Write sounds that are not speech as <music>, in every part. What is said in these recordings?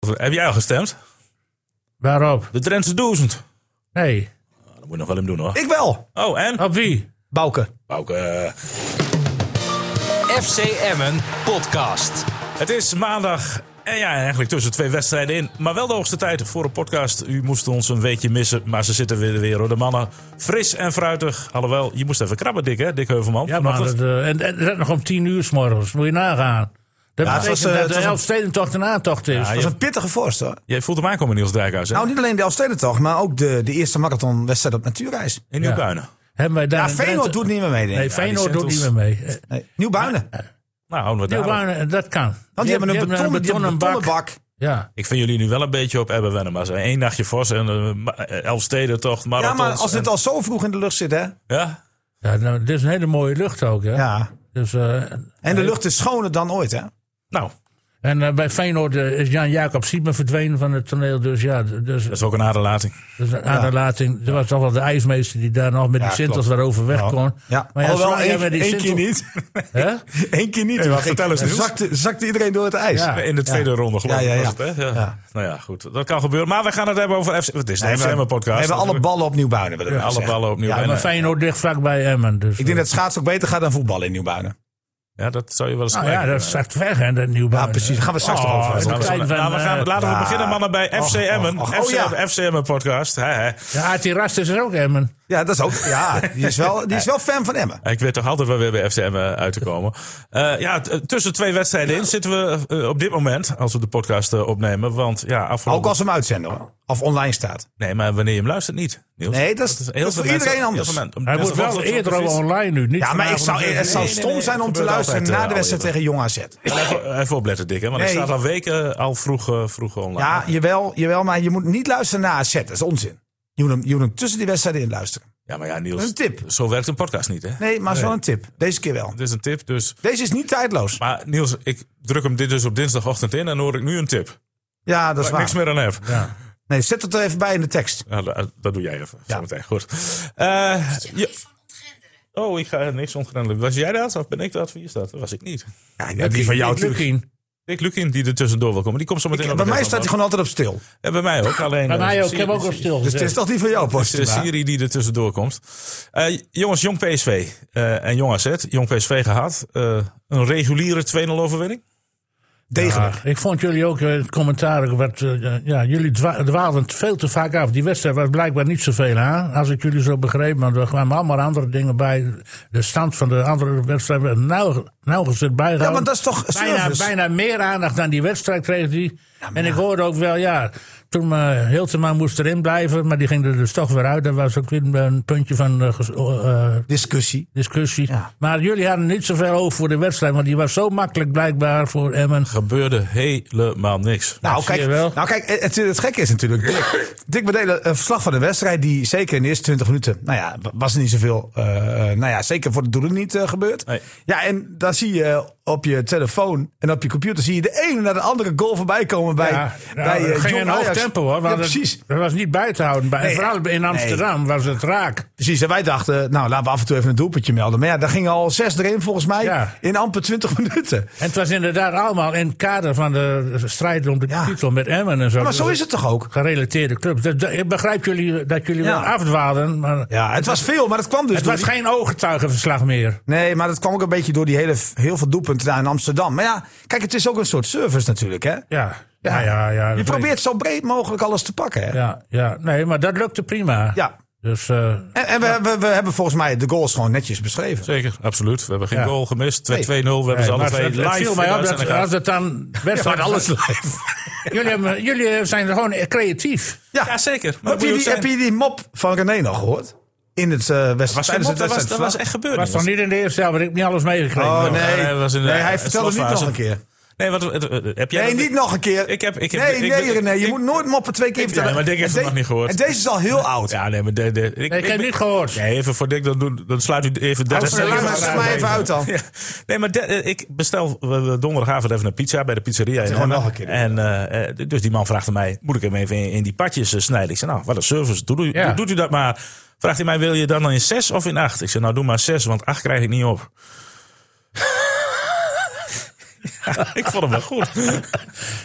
antwoord. Heb jij al gestemd? Waarop? De Drentse Duizend. Nee. Dat moet je nog wel hem doen hoor. Ik wel. Oh, en? Op wie? Bouke. Bouke. eh, FC Emmen podcast. Het is maandag. En ja, eigenlijk tussen twee wedstrijden in. Maar wel de hoogste tijd voor een podcast. U moest ons een weekje missen, maar ze zitten weer weer hoor. De mannen fris en fruitig. Alhoewel, je moest even krabben, Dick, hè? Dick Heuvelman. Ja, maar Vanochtend. dat, eh, en, en red nog om tien uur s morgens. Moet je nagaan. Dat Ja, het betekent was, eh, dat het de was een- Elfstedentocht een aantocht is. Dat is een pittige vorst hoor. Jij voelt hem aankomen, Niels Dijkhuis, hè? Nou, niet alleen de Elfstedentocht, maar ook de, de eerste marathonwedstrijd op natuurreis. in Nieuwbuinen. Hebben wij daar Ja, in Feyenoord Drenthe- doet niet meer mee, denk ik. Nee, Feyenoord doet Centels- niet meer mee. Eh, Nee. Nieuwbuinen. Nou, houden we het daarop. Nieuwbouw, eh, dat kan. Want die, hebben een betonnen, die hebben een betonnen bak. Ja. Ik vind jullie nu wel een beetje op Ebbe Wennemars. Eén nachtje Vos en eh, ma- eh, Elfstedentocht, Ja, marathons. maar als en- dit al zo vroeg in de lucht zit, hè? Ja? ja nou, dit is een hele mooie lucht ook. Hè? Ja. Dus, eh, En de lucht is schoner dan ooit, hè? Nou, dat en eh, bij Feyenoord eh, is Jan-Jacob Siemen verdwenen van het toneel. Dus ja, d- dus, is ook een aderlating. dus een aderlating. Er was toch wel de ijsmeester die daar nog met die Sintels daarover weg kon. Ja. Maar ja, Alhoewel, zodra jij één, met die één keer Sintels- niet. Hè? <laughs> Eén keer niet. hoor. vertel eens, Dan Niels. zakte, zakte iedereen door het ijs. Ja. In de tweede ronde, geloof ik. Ja, ja, was ja. het, hè? Ja. Ja. Nou ja, goed. Dat kan gebeuren. Maar we gaan het hebben over FC. Het is de Nee, FC Emmen podcast. we hebben alle ballen op Nieuwbuinen. willen we Alle zeggen. ballen opnieuw. Ja, En, Maar eh, Feyenoord ligt vlakbij Emmen. Dus, Ik denk dat schaats ook beter gaat dan voetballen in Nieuwbuinen. ja, dat zou je wel eens nou ja, kwijt dat kunnen. is straks weg, hè, dat nieuwbouw. Ja, precies. Daar gaan we straks Oh, nog dat over hebben. Nou, we tijd gaan- van, nou, we gaan- eh, laten we ja. beginnen, mannen, bij Och, FC och, Emmen. och. FC, Oh, ja. De FC Emmen podcast. Hè, hè. Ja, Ati Rast is er ook Emmen. Ja, dat is ook. Ja, die is wel, die is wel fan van Emmen. Ik weet toch altijd wel weer bij FC Emmen uit te komen. Eh, ja, t- tussen twee wedstrijden in zitten we eh, op dit moment, als we de podcast eh, opnemen. Want ja, Ook afgelopen... als ze hem uitzenden hoor. Of online staat. Nee, maar wanneer je hem luistert niet, Niels. Nee, dat is- dat is voor iedereen anders. Hij wordt wel eerder al online nu. Niet Ja, maar vanavond ik dus zou, om het zeven zou uur. stom zijn om te gebeurt luisteren altijd, na de eh, wedstrijd tegen Jong AZ. Even, even opletten, Dick, hè, want hij Nee. staat al weken eh, al vroeg, eh, vroeg online. Ja, Ja, jawel, jawel, maar je moet niet luisteren na AZ. Dat is onzin. Je moet hem, je moet hem tussen die wedstrijden in luisteren. maar ja, Niels. Een tip. Zo werkt een podcast niet, hè? Nee, maar het is wel een tip. Deze keer wel. Het is een tip, dus... Deze is niet tijdloos. Maar Niels, ik druk hem dit dus op dinsdagochtend in en hoor ik nu een tip. Ja, dat is Waar ik niks waar. meer aan heb. Nee, zet het er even bij in de tekst. Nou, dat, dat doe jij even. Ja. Zometeen, goed. Eh, ja. Oh, ik ga niks ontgrendelen. Was jij dat of ben ik dat? Wie is dat? Dat was ik niet. Ja, Ja, die van jou Dick natuurlijk. Lukien. Dick Lucin die er tussendoor wil komen. Die komt zo meteen op Bij de mij weg staat hij van- gewoon altijd op stil. Ja, bij mij ook. Alleen, Bij eh, mij ook. Ik Siri- heb ook al stil Dus het is gezeten. toch niet van jou, Het is de Postuma? Siri die er tussendoor komt. Eh, jongens, Jong PSV eh, en Jong AZ. Jong PSV gehad. Eh, een reguliere 2-0 overwinning. Degelijk. Ja, ik vond jullie ook eh, het commentaar. ook Wat, eh, ja, jullie dwa- dwaalden veel te vaak af. Die wedstrijd was blijkbaar niet zoveel aan. Als ik jullie zo begreep. Maar er kwamen allemaal andere dingen bij. De stand van de andere wedstrijd werd nauw, nauwgezet bijgehouden. Ja, maar dat is toch bijna, service? bijna meer aandacht dan die wedstrijd kreeg die. en ik hoorde ook wel, ja, toen eh, Hiltema moest erin blijven. Maar die ging er dus toch weer uit. Dat was ook weer een puntje van eh, ges- eh, Discussie. discussie. Ja. Maar jullie hadden niet zoveel over voor de wedstrijd, want die was zo makkelijk blijkbaar voor Emmen. Gebeurde helemaal niks. Nou, Dat zie kijk, je wel. nou, kijk het, het gekke is natuurlijk. Dick, Dick bedeelde een verslag van de wedstrijd. die zeker in de eerste 20 minuten. Nou ja, wa- was er niet zoveel. eh, eh, nou ja, zeker voor de doelen niet eh, gebeurd. Nee. Ja, en dan zie je op je telefoon en op je computer. zie je de ene naar de andere goal voorbij komen. bij. Ja, bij nou, eh, het ging Jong in hoog Ajax. tempo hoor. Ja, want het- precies. Dat was niet bij te houden. Bij, en Nee. vooral in Amsterdam was het raak. Precies, en wij dachten, nou laten we af en toe even een doelpuntje melden. Maar ja, daar gingen al zes erin volgens mij Ja. in amper 20 <laughs> minuten. En het was inderdaad allemaal in het kader van de strijd om de Ja. titel met Emmen en zo. Maar zo Dus is het toch ook? Gerelateerde clubs. Dat- dat- ik begrijp jullie dat jullie Ja. wel afdwaalden, maar Ja, het was veel, maar dat kwam dus het door was die- geen ooggetuigenverslag meer. Nee, maar dat kwam ook een beetje door die hele, heel veel doelpunten daar in Amsterdam. Maar ja, kijk, het is ook een soort service natuurlijk, hè? Ja, ja, ja. ja, Je dat probeert zo breed mogelijk alles te pakken, hè? weet ik. Ja, ja, nee, maar dat lukte prima. Ja. Dus eh, En, en we, we, we hebben volgens mij de goals gewoon netjes beschreven. Zeker, absoluut. We hebben geen Ja. goal gemist. 2-2-0. We hebben Nee, ze alle maar twee het- het live viel in mij de op dat uitzending gehad. als het <laughs> dan wedstrijd alles live. <laughs> jullie, hebben, jullie zijn gewoon <laughs> creatief. Ja, Ja, zeker. Maar Heb je, moet die, ook heb je die mop van René nog gehoord? In het eh wedstrijd. Was tijdens geen het mop, dat, was, dat was wedstrijdverslag? echt gebeurd. was toch jongens. niet in de eerste helft, want ik heb niet alles meegekregen. Oh Nou, nee, Nee, dat was in de- nee hij het vertelde het niet slotfase. nog een keer. Nee, wat, eh, eh, heb jij Nee, dat- niet nog een keer. Ik heb- ik heb- nee, ik- nee, ik- René, je ik- moet nooit moppen twee keer vertellen. maar Dick heeft En hem de- nog niet gehoord. En deze is al heel oud. Ja, nee, maar... De, de, ik, ik heb niet gehoord. Nee, even voor Dick, dan, doen- dan sluit u even... Dat dertig is- seconden laat maar- af. laat maar even uit dan. Ja. Nee, maar de- eh, ik bestel eh, donderdagavond even een pizza bij de pizzeria. in gewoon Emmen. nog een keer doen. En, eh, eh, dus die man vraagt aan mij, moet ik hem even in, in die patjes eh, snijden? Ik zei, nou, wat een service. Doe, doe- Ja. doet u dat maar. Vraagt hij mij, wil je dan in zes of in acht? Ik zei, nou, doe maar zes, want acht krijg ik niet op. <laughs> ik vond hem wel goed.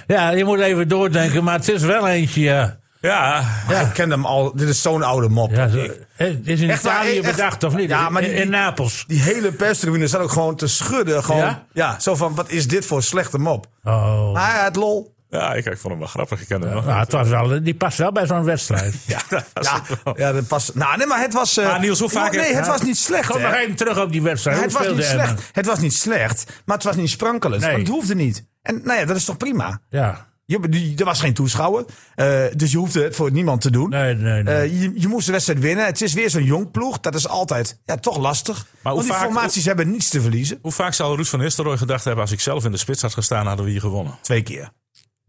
Ja, je moet even doordenken, maar het is wel eentje, ja. Ja, Ik ken hem al. Dit is zo'n oude mop. ja zo- het is in Echt waar, Italië echt- bedacht, of niet? Ja, maar die- in, in Napels. Die hele perstribune zat ook gewoon te schudden. Gewoon, Ja? ja? zo van, wat is dit voor slechte mop? Oh. Maar hij had lol. ja ik, ik vond hem wel grappig. Ik ken hem wel. Nou, het was wel, die past wel bij zo'n wedstrijd. <laughs> Ja, dat was <laughs> Ja, het wel. ja dat past. Nou, nee, maar het was... eh, Maar Niels, hoe vaak- Nee, het ja. was niet slecht. Kom hè? nog even terug op die wedstrijd. Het Hoe was niet speelde Emmen? slecht. Het was niet slecht, maar het was niet sprankelend. Nee. Want het hoefde niet. En nou ja, dat is toch prima. Ja. Je, die- er was geen toeschouwer, eh, dus je hoefde het voor niemand te doen. Nee, nee, nee. Eh, je, je moest de wedstrijd winnen. Het is weer zo'n jong ploeg. Dat is altijd ja, toch lastig. hoe Want die vaak- formaties hebben niets te verliezen. Hoe vaak zal Ruud van Nistelrooy gedacht hebben... als ik zelf in de spits had gestaan, hadden we hier gewonnen. Twee keer.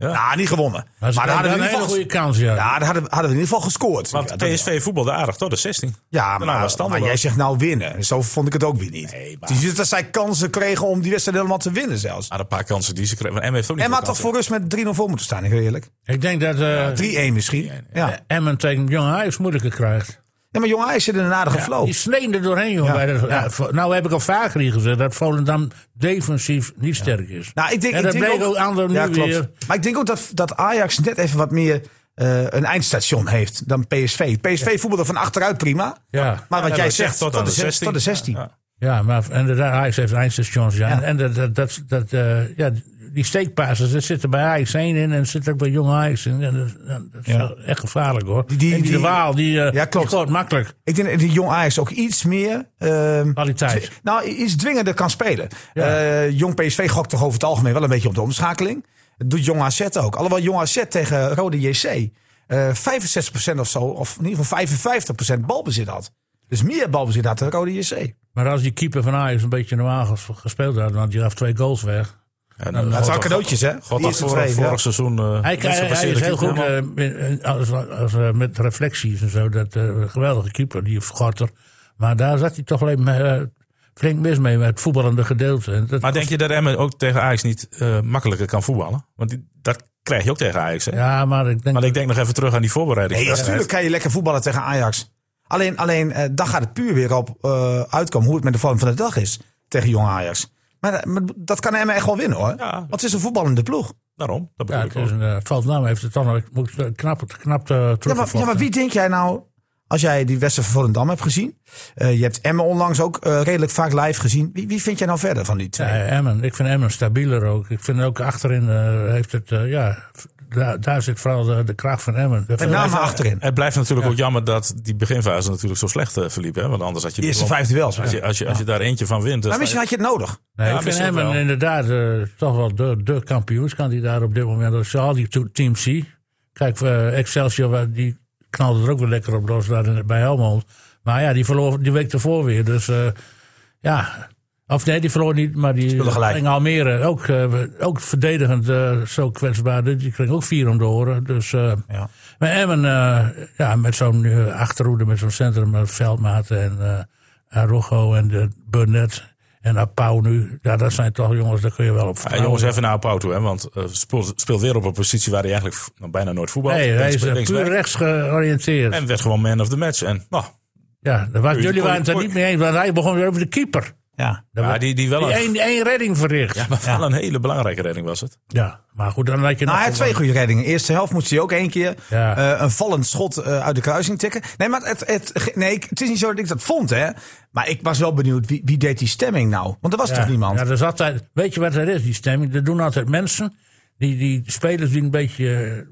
Ja. Nou, niet gewonnen. Maar, maar ze dan hadden hadden we in een ieder hele geval... goede kans, ja. Ja, dan hadden, we- hadden we in ieder geval gescoord. Want Ja, dat- PSV voetbalde aardig, toch? De 16. Ja, Daarna was maar, het allemaal maar jij wel. zegt nou winnen. Zo vond ik het ook weer niet. Nee, maar- Het is niet dat zij kansen kregen om die wedstrijd helemaal te winnen zelfs. Maar een paar kansen die ze kregen. Maar Emma heeft ook niet En maar veel toch kansen. voor rust met 3-0 voor moeten staan, heel eerlijk. Ik denk dat eh 3-1 misschien. Ja. ja. Emmen tegen Jong Ajax moeilijker krijgt. maar jongen, hij zit in een aardige flow. Die sneden er doorheen, jongen. Ja, bij dat- ja. ja, vo- nou heb ik al vaker hier gezegd dat Volendam defensief niet sterk is. Nou, ik denk, en ik dat denk bleek ook aan de Ja, nu klopt. weer. Maar ik denk ook dat, dat Ajax net even wat meer eh, een eindstation heeft dan PSV. PSV voetbalde van achteruit prima. Ja. Maar wat Ja, jij dat zegt, zegt tot aan de 16. Tot de 16. Ja. Ja, maar en de Ajax heeft eindstations. Ja. En, en dat, dat, dat, dat, eh, ja, die steekpassers, dat zit er bij Ajax 1 in en zit ook bij Jong Ajax in. En dat, dat- dat is wel echt gevaarlijk hoor. Die- die- en die, die- de Waal, die, eh Ja, klopt. die scoort makkelijk. Ik denk dat die jong Ajax ook iets meer... ehm, Kwaliteit. dwi- nou, iets dwingender kan spelen. Eh, jong PSV gokt toch over het algemeen wel een beetje op de omschakeling. Dat doet jong AZ ook. Alhoewel jong AZ tegen Rode JC eh 65% of zo, of in ieder geval 55% balbezit had. Dus meer balbezit had dan Rode Nou, JC. Maar als die keeper van Ajax een beetje normaal ges- gespeeld had, want die gaf twee goals weg. En, eh, Dat God, zijn dat- cadeautjes, hè? God, Die dat eerste vorig, twee, ja. vorig seizoen... eh, Hij, net hij- zo hij passeerde is heel keeper goed helemaal. eh, in- als, als, eh, met reflecties en zo. Dat eh, geweldige keeper, die Gorter. Maar daar zat hij toch alleen maar, eh, flink mis mee met het voetballende gedeelte. En dat- Maar denk je dat Emmen ook tegen Ajax niet eh, makkelijker kan voetballen? Want die- dat krijg je ook tegen Ajax. Hè? ja, maar ik denk... Maar ik denk nog even terug aan die voorbereiding. Nee, natuurlijk kan je lekker voetballen tegen Ajax. Alleen, alleen eh, daar gaat het puur weer op eh, uitkomen hoe het met de vorm van de dag is tegen jong Ajax. Maar, eh, maar dat kan Emmen echt wel winnen hoor. Ja. Want het is een voetballende ploeg. Daarom. Dat ja, bedoel het, ik is ook. een, eh, het valt nou, heeft het dan nog moet ik, eh, knap, knap eh, Ja maar, teruggevochten. ja, maar wie denk jij nou, als jij die wedstrijd van Volendam hebt gezien. eh, je hebt Emmen onlangs ook eh, redelijk vaak live gezien. Wie, wie vind jij nou verder van die twee? Ja, Eh, Emmen. Ik vind Emmen stabieler ook. Ik vind ook achterin eh, heeft het... eh, ja, daar, daar zit vooral de, de kracht van Emmen. Dat- Met name achterin. Het blijft natuurlijk ook jammer dat die beginfase natuurlijk zo slecht eh, verliep. Hè? Want anders had je... Eerste wel- vijf duels. Als je, als je, als je daar eentje van wint... dan Maar sta je- misschien had je het nodig. Nee, Ja, ik vind misschien Emmen wel. inderdaad eh, toch wel de, de kampioenskandidaat op dit moment. Als je al die to- teams ziet. Kijk, eh, Excelsior wa- die knalde er ook weer lekker op los daar in- bij Helmond. Maar ja, die verloor die week ervoor weer. Dus eh, ja... Of nee, die verloor niet, maar die Speelde gelijk. ging Almere ook, eh, ook verdedigend eh, zo kwetsbaar. Die kreeg ook vier om de oren. Dus, eh, Ja. Maar Emmen, eh, ja, met zo'n eh, achterhoede, met zo'n centrum, met Veldmaat en eh Arogo en de Burnett en Apau nu. Ja, dat zijn toch jongens, daar kun je wel op Ja, jongens, vertrouwen. even naar Pauw toe. Hè? Want eh, speelt, speelt weer op een positie waar hij eigenlijk v- nou, bijna nooit voetbal nee, hij is eh, puur rechts georiënteerd. En werd gewoon man of the match. En nou, <laughs> ja, daar was, Puur- jullie waren het er puur- niet mee eens, want hij begon weer over de keeper. Ja. Daar ja, werd- die, die wel die een, één, één redding verricht. Ja, maar wel een hele belangrijke redding was het. maar goed, dan had je Nou, nog hij had twee goede reddingen. Eerste helft moest hij ook één keer Ja. eh, een vallend schot eh, uit de kruising tikken. Nee, maar het, het, nee, ik- het is niet zo dat ik dat vond, hè. Maar ik was wel benieuwd, wie, wie deed die stemming nou? Want er was toch niemand? Ja, er is altijd, weet je wat er is, die stemming? Er doen altijd mensen, die, die spelers die een beetje,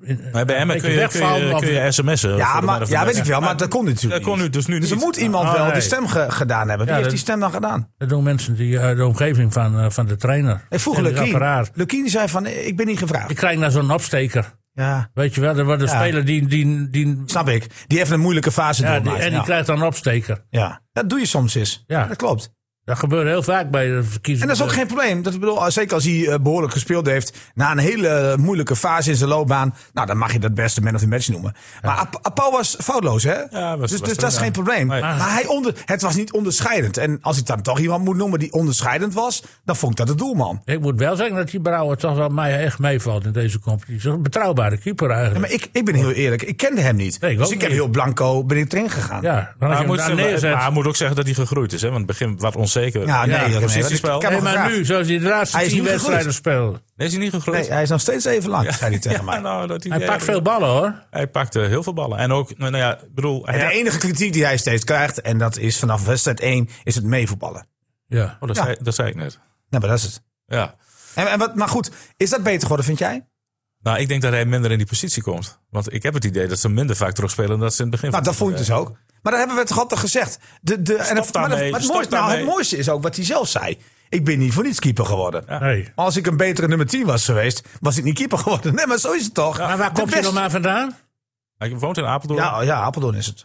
eh, in- Maar bij een Emmen beetje kun je, kun wegvallen je, of- kun je sms'en. ja, voor de man maar, of the ja weet match. ik wel, maar Maar dat kon natuurlijk dat kon niet. nu dus nu Dus er niet. moet iemand Ah, wel nee. de stem ge- gedaan hebben. Wie heeft dat- die stem dan gedaan? Dat doen mensen die uit de omgeving van, eh, van de trainer. Ik vroeg En het Lukien. apparaat. Lukien die zei van, ik ben niet gevraagd. Die krijgen daar zo'n opsteker. ja, Weet je wel, dat wordt een Ja. speler die... die, die snap ik. Die heeft een moeilijke fase ja, die- doormaakt. en die ja. krijgt dan een opsteker. Ja. dat doe je soms eens. Ja. Dat klopt. Dat gebeurt heel vaak bij de En verkiezingen. dat is ook geen probleem. Dat, ik bedoel, als- zeker als hij eh, behoorlijk gespeeld heeft. Na een hele eh, moeilijke fase in zijn loopbaan. Nou, dan mag je dat beste man of the match noemen. Maar Ap- Apau was foutloos, hè? was- was dus dus er, dat is ja. geen probleem. Nee. Maar hij onder, het was niet onderscheidend. En als ik dan toch iemand moet noemen die onderscheidend was. dan vond ik dat de doelman. Ik moet wel zeggen dat die Brouwer toch wel mij echt meevalt in deze competitie. Een betrouwbare keeper Ja, eigenlijk. maar ik, ik ben heel eerlijk. Ik kende hem niet. Nee, ik dus ook ik heb niet. heel blanco ben ik erin gegaan. Ja, dan als Maar je hij hem moet, daar zeggen- neerzet... maar hij moet ook zeggen dat hij gegroeid is. Hè? Want het begin, wat ons zeker. Ja, nee, Ja, joh, nee, positiespel. want ik- ik heb Nee, hem maar gevraagd. nu, zoals hij de laatste Hij is tien niet wedstrijden speelt. Nee, is hij niet gegroeid? <laughs> Nee, hij is nog steeds even lang, zei hij tegen mij. Ja, nou, dat Hij ja, pakt veel ballen hoor. Hij pakte heel veel ballen. En ook, nou ja, ik bedoel... En Hij de enige kritiek die hij steeds krijgt, en dat is vanaf wedstrijd 1, is het meevoetballen. Ja. oh, dat, Ja. zei, dat zei ik net. Nou, maar dat is het. Ja. En, en wat, maar goed, is dat beter geworden, vind jij? Nou, ik denk dat hij minder in die positie komt. Want ik heb het idee dat ze minder vaak terugspelen dan dat ze in het begin Nou, van dat de- vond ik dus ook. Maar dat hebben we toch altijd gezegd. De, de, en het, maar, dat- daarmee, maar het, stop mooiste, nou, het daarmee. mooiste is ook wat hij zelf zei. Ik ben niet voor niets keeper geworden. Nee. Maar als ik een betere nummer 10 was geweest, was ik niet keeper geworden. Nee, maar zo is het toch? Maar waar De komt hij beste- dan maar vandaan? Hij woont in Apeldoorn. Ja, ja, Apeldoorn is het.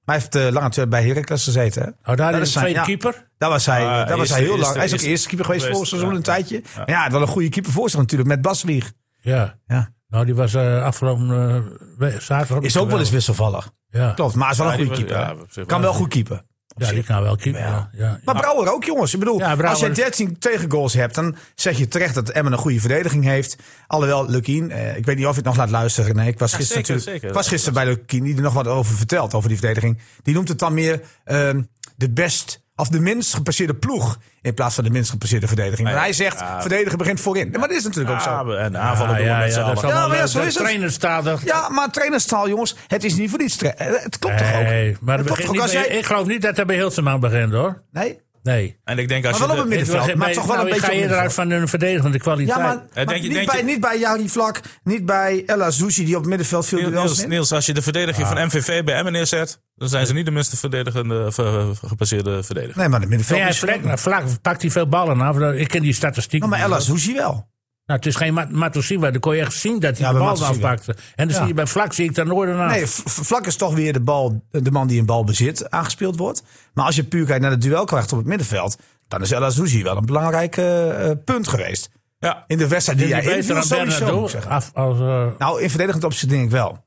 Maar hij heeft eh, lange tijd bij Heracles gezeten. Hè? Oh, daar Dat is is de zijn- tweede ja. keeper. Daar was hij, Ah, daar was eerste- hij heel lang. eerste- Hij is ook eerste- eerste keeper geweest geweest, vorig seizoen ja. een tijdje. Ja, hij had wel een goede keeper voor zich natuurlijk, met Bas Wieg. Ja. Ja. Nou, die was eh, afgelopen eh, we- zaterdag. Is ook wel eens wisselvallig. Ja. Klopt, maar is wel Ja, een die goede was- keeper. ja, hè? op zich kan wel. wel goed keeper. Ja, die kan wel keeper. Ja. Ja. Maar Brouwer ook, jongens. Ik bedoel, Ja, Brouwer- als je 13 tegengoals hebt, dan zeg je terecht dat Emmen een goede verdediging heeft. Alhoewel, Lukien, eh, ik weet niet of je het nog laat luisteren. Nee, ik was gisteren, zeker, natuurlijk, zeker. ik was gisteren bij Lukien, die er nog wat over vertelt, over die verdediging. Die noemt het dan meer ehm, de best, of de minst gepasseerde ploeg, in plaats van de minst gepasseerde verdediging. Maar ja, hij zegt, ja. verdedigen begint voorin. Maar dat is natuurlijk ook zo. Ja, en aanvallen doen we ja, met z'n ja, dat is allen. allemaal maar ja, leuk. zo De is het. trainer staat er. Ja, maar trainerstaal, jongens, het is niet voor niets. tra- eh, Het klopt toch ook? Nee, maar dat het klopt begint toch ook niet als bij- jij... ik geloof niet dat hij bij Hilseman begint hoor. Nee? Nee. En ik denk als Maar wel je... op de- het middenveld, Ik- maar nee, toch wel een nou, ik beetje ga op eerder uit middenveld. van een verdedigende kwaliteit. Ja, maar, Eh, denk maar je- niet, denk bij, je- niet bij Jari Vlak, niet bij Ella Zushi die op het middenveld veel Niels, duels Niels, wint. Niels, als je de verdediger van MVV bij Emmen neerzet... dan zijn ze niet de minste verdedigende, ver- gepasseerde verdediger. Nee, maar de middenveld Vind jij is Fleck- nou, Vlak pakt hij veel ballen af. Ik ken die statistieken. Nou, maar Ella Zushi wel. Nou, het is geen Mat- Matosiwa. Dan kon je echt zien dat hij Ja, de bij bal Matosiwa. afpakte. En dan zie je bij Vlak zie ik daar nooit aan. Nee, V- V- Vlak is toch weer de, bal, de man die een bal bezit, aangespeeld wordt. Maar als je puur kijkt naar de duelkracht op het middenveld... dan is Ella Zushi wel een belangrijk eh, eh, punt geweest. Ja, In de wedstrijd die Is hij hij beter inviel, dan sowieso. Bernardo? moet ik zeggen. Af, als, eh, Nou, in verdedigend opzicht denk ik wel.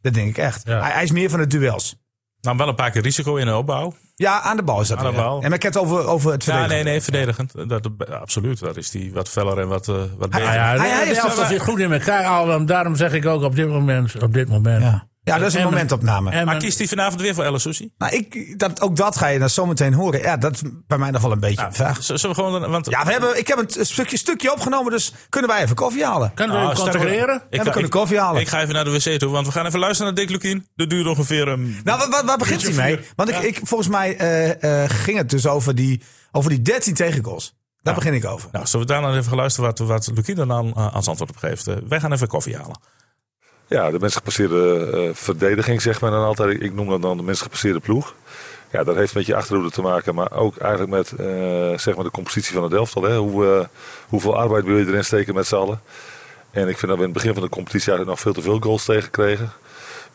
Dat denk ik echt. Ja. Hij, hij is meer van de duels. nam Nou, wel een paar keer risico in de opbouw. Ja, aan de bal is dat Aan de weer. bal. En maar ik heb het over, over het Ja, verdedigen. nee, nee, verdedigend. Dat, absoluut, dat is die wat feller en wat, eh, wat beter. nou ja, hij- de- hij de heeft elftal wel- zit goed in elkaar. Al, daarom zeg ik ook op dit moment. Op dit moment. Ja. ja, dat is een Emmen- momentopname. maar Emmen- kiest hij vanavond weer voor El Sushi? Nou, ik, dat, ook dat ga je dan zometeen horen. Ja, dat is bij mij nog wel een beetje een vraag. Zullen we gewoon... Want, Ja, we hebben, ik heb een stukje, stukje opgenomen, dus kunnen wij even koffie halen? Kan Ah, je sterker- controleren? Ik we ga- kunnen ik- koffie halen. Ik ga even naar de wc toe, want we gaan even luisteren naar Dick Lukien. Dat duurt ongeveer ehm, een... Nou, waar, waar, waar begint hij mee? Want ik, ik, volgens mij eh, eh, ging het dus over die, over die 13 tegengoals. Daar begin ik over. Nou, zullen we daarna even gaan luisteren wat, wat Lukien er dan eh, als antwoord op geeft? Eh, wij gaan even koffie halen. Ja, de minst gepasseerde eh, verdediging, zegt men dan altijd. Ik noem dat dan de minst gepasseerde ploeg. Ja, dat heeft met je achterhoede te maken, maar ook eigenlijk met eh, zeg maar de compositie van het elftal. Hè? Hoe, eh, hoeveel arbeid wil je erin steken met z'n allen? En ik vind dat we in het begin van de competitie eigenlijk nog veel te veel goals tegenkregen.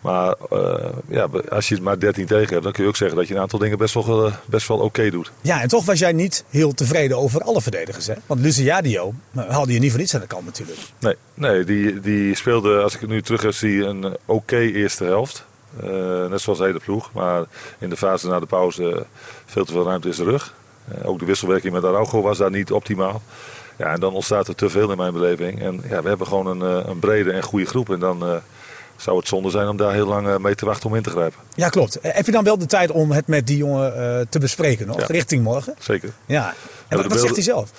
Maar eh, ja, als je het maar 13 tegen hebt, dan kun je ook zeggen dat je een aantal dingen best wel, eh, best wel oké doet. Ja, en toch was jij niet heel tevreden over alle verdedigers, hè? Want Luciadio haalde je niet voor niets aan de kant natuurlijk. Nee, nee die, die speelde, als ik het nu terug zie, een oké eerste helft. Eh, net zoals de hele ploeg. Maar in de fase na de pauze veel te veel ruimte is de rug. Eh, ook de wisselwerking met Araujo was daar niet optimaal. Ja, en dan ontstaat er te veel in mijn beleving. En ja, we hebben gewoon een, eh, een brede en goede groep. En dan eh, zou het zonde zijn om daar heel lang eh, mee te wachten om in te grijpen. Ja, klopt. Eh, Heb je dan wel de tijd om het met die jongen eh, te bespreken, nog? Ja. Richting morgen? Zeker. Ja. de wat- wat zegt beelden- hij zelf?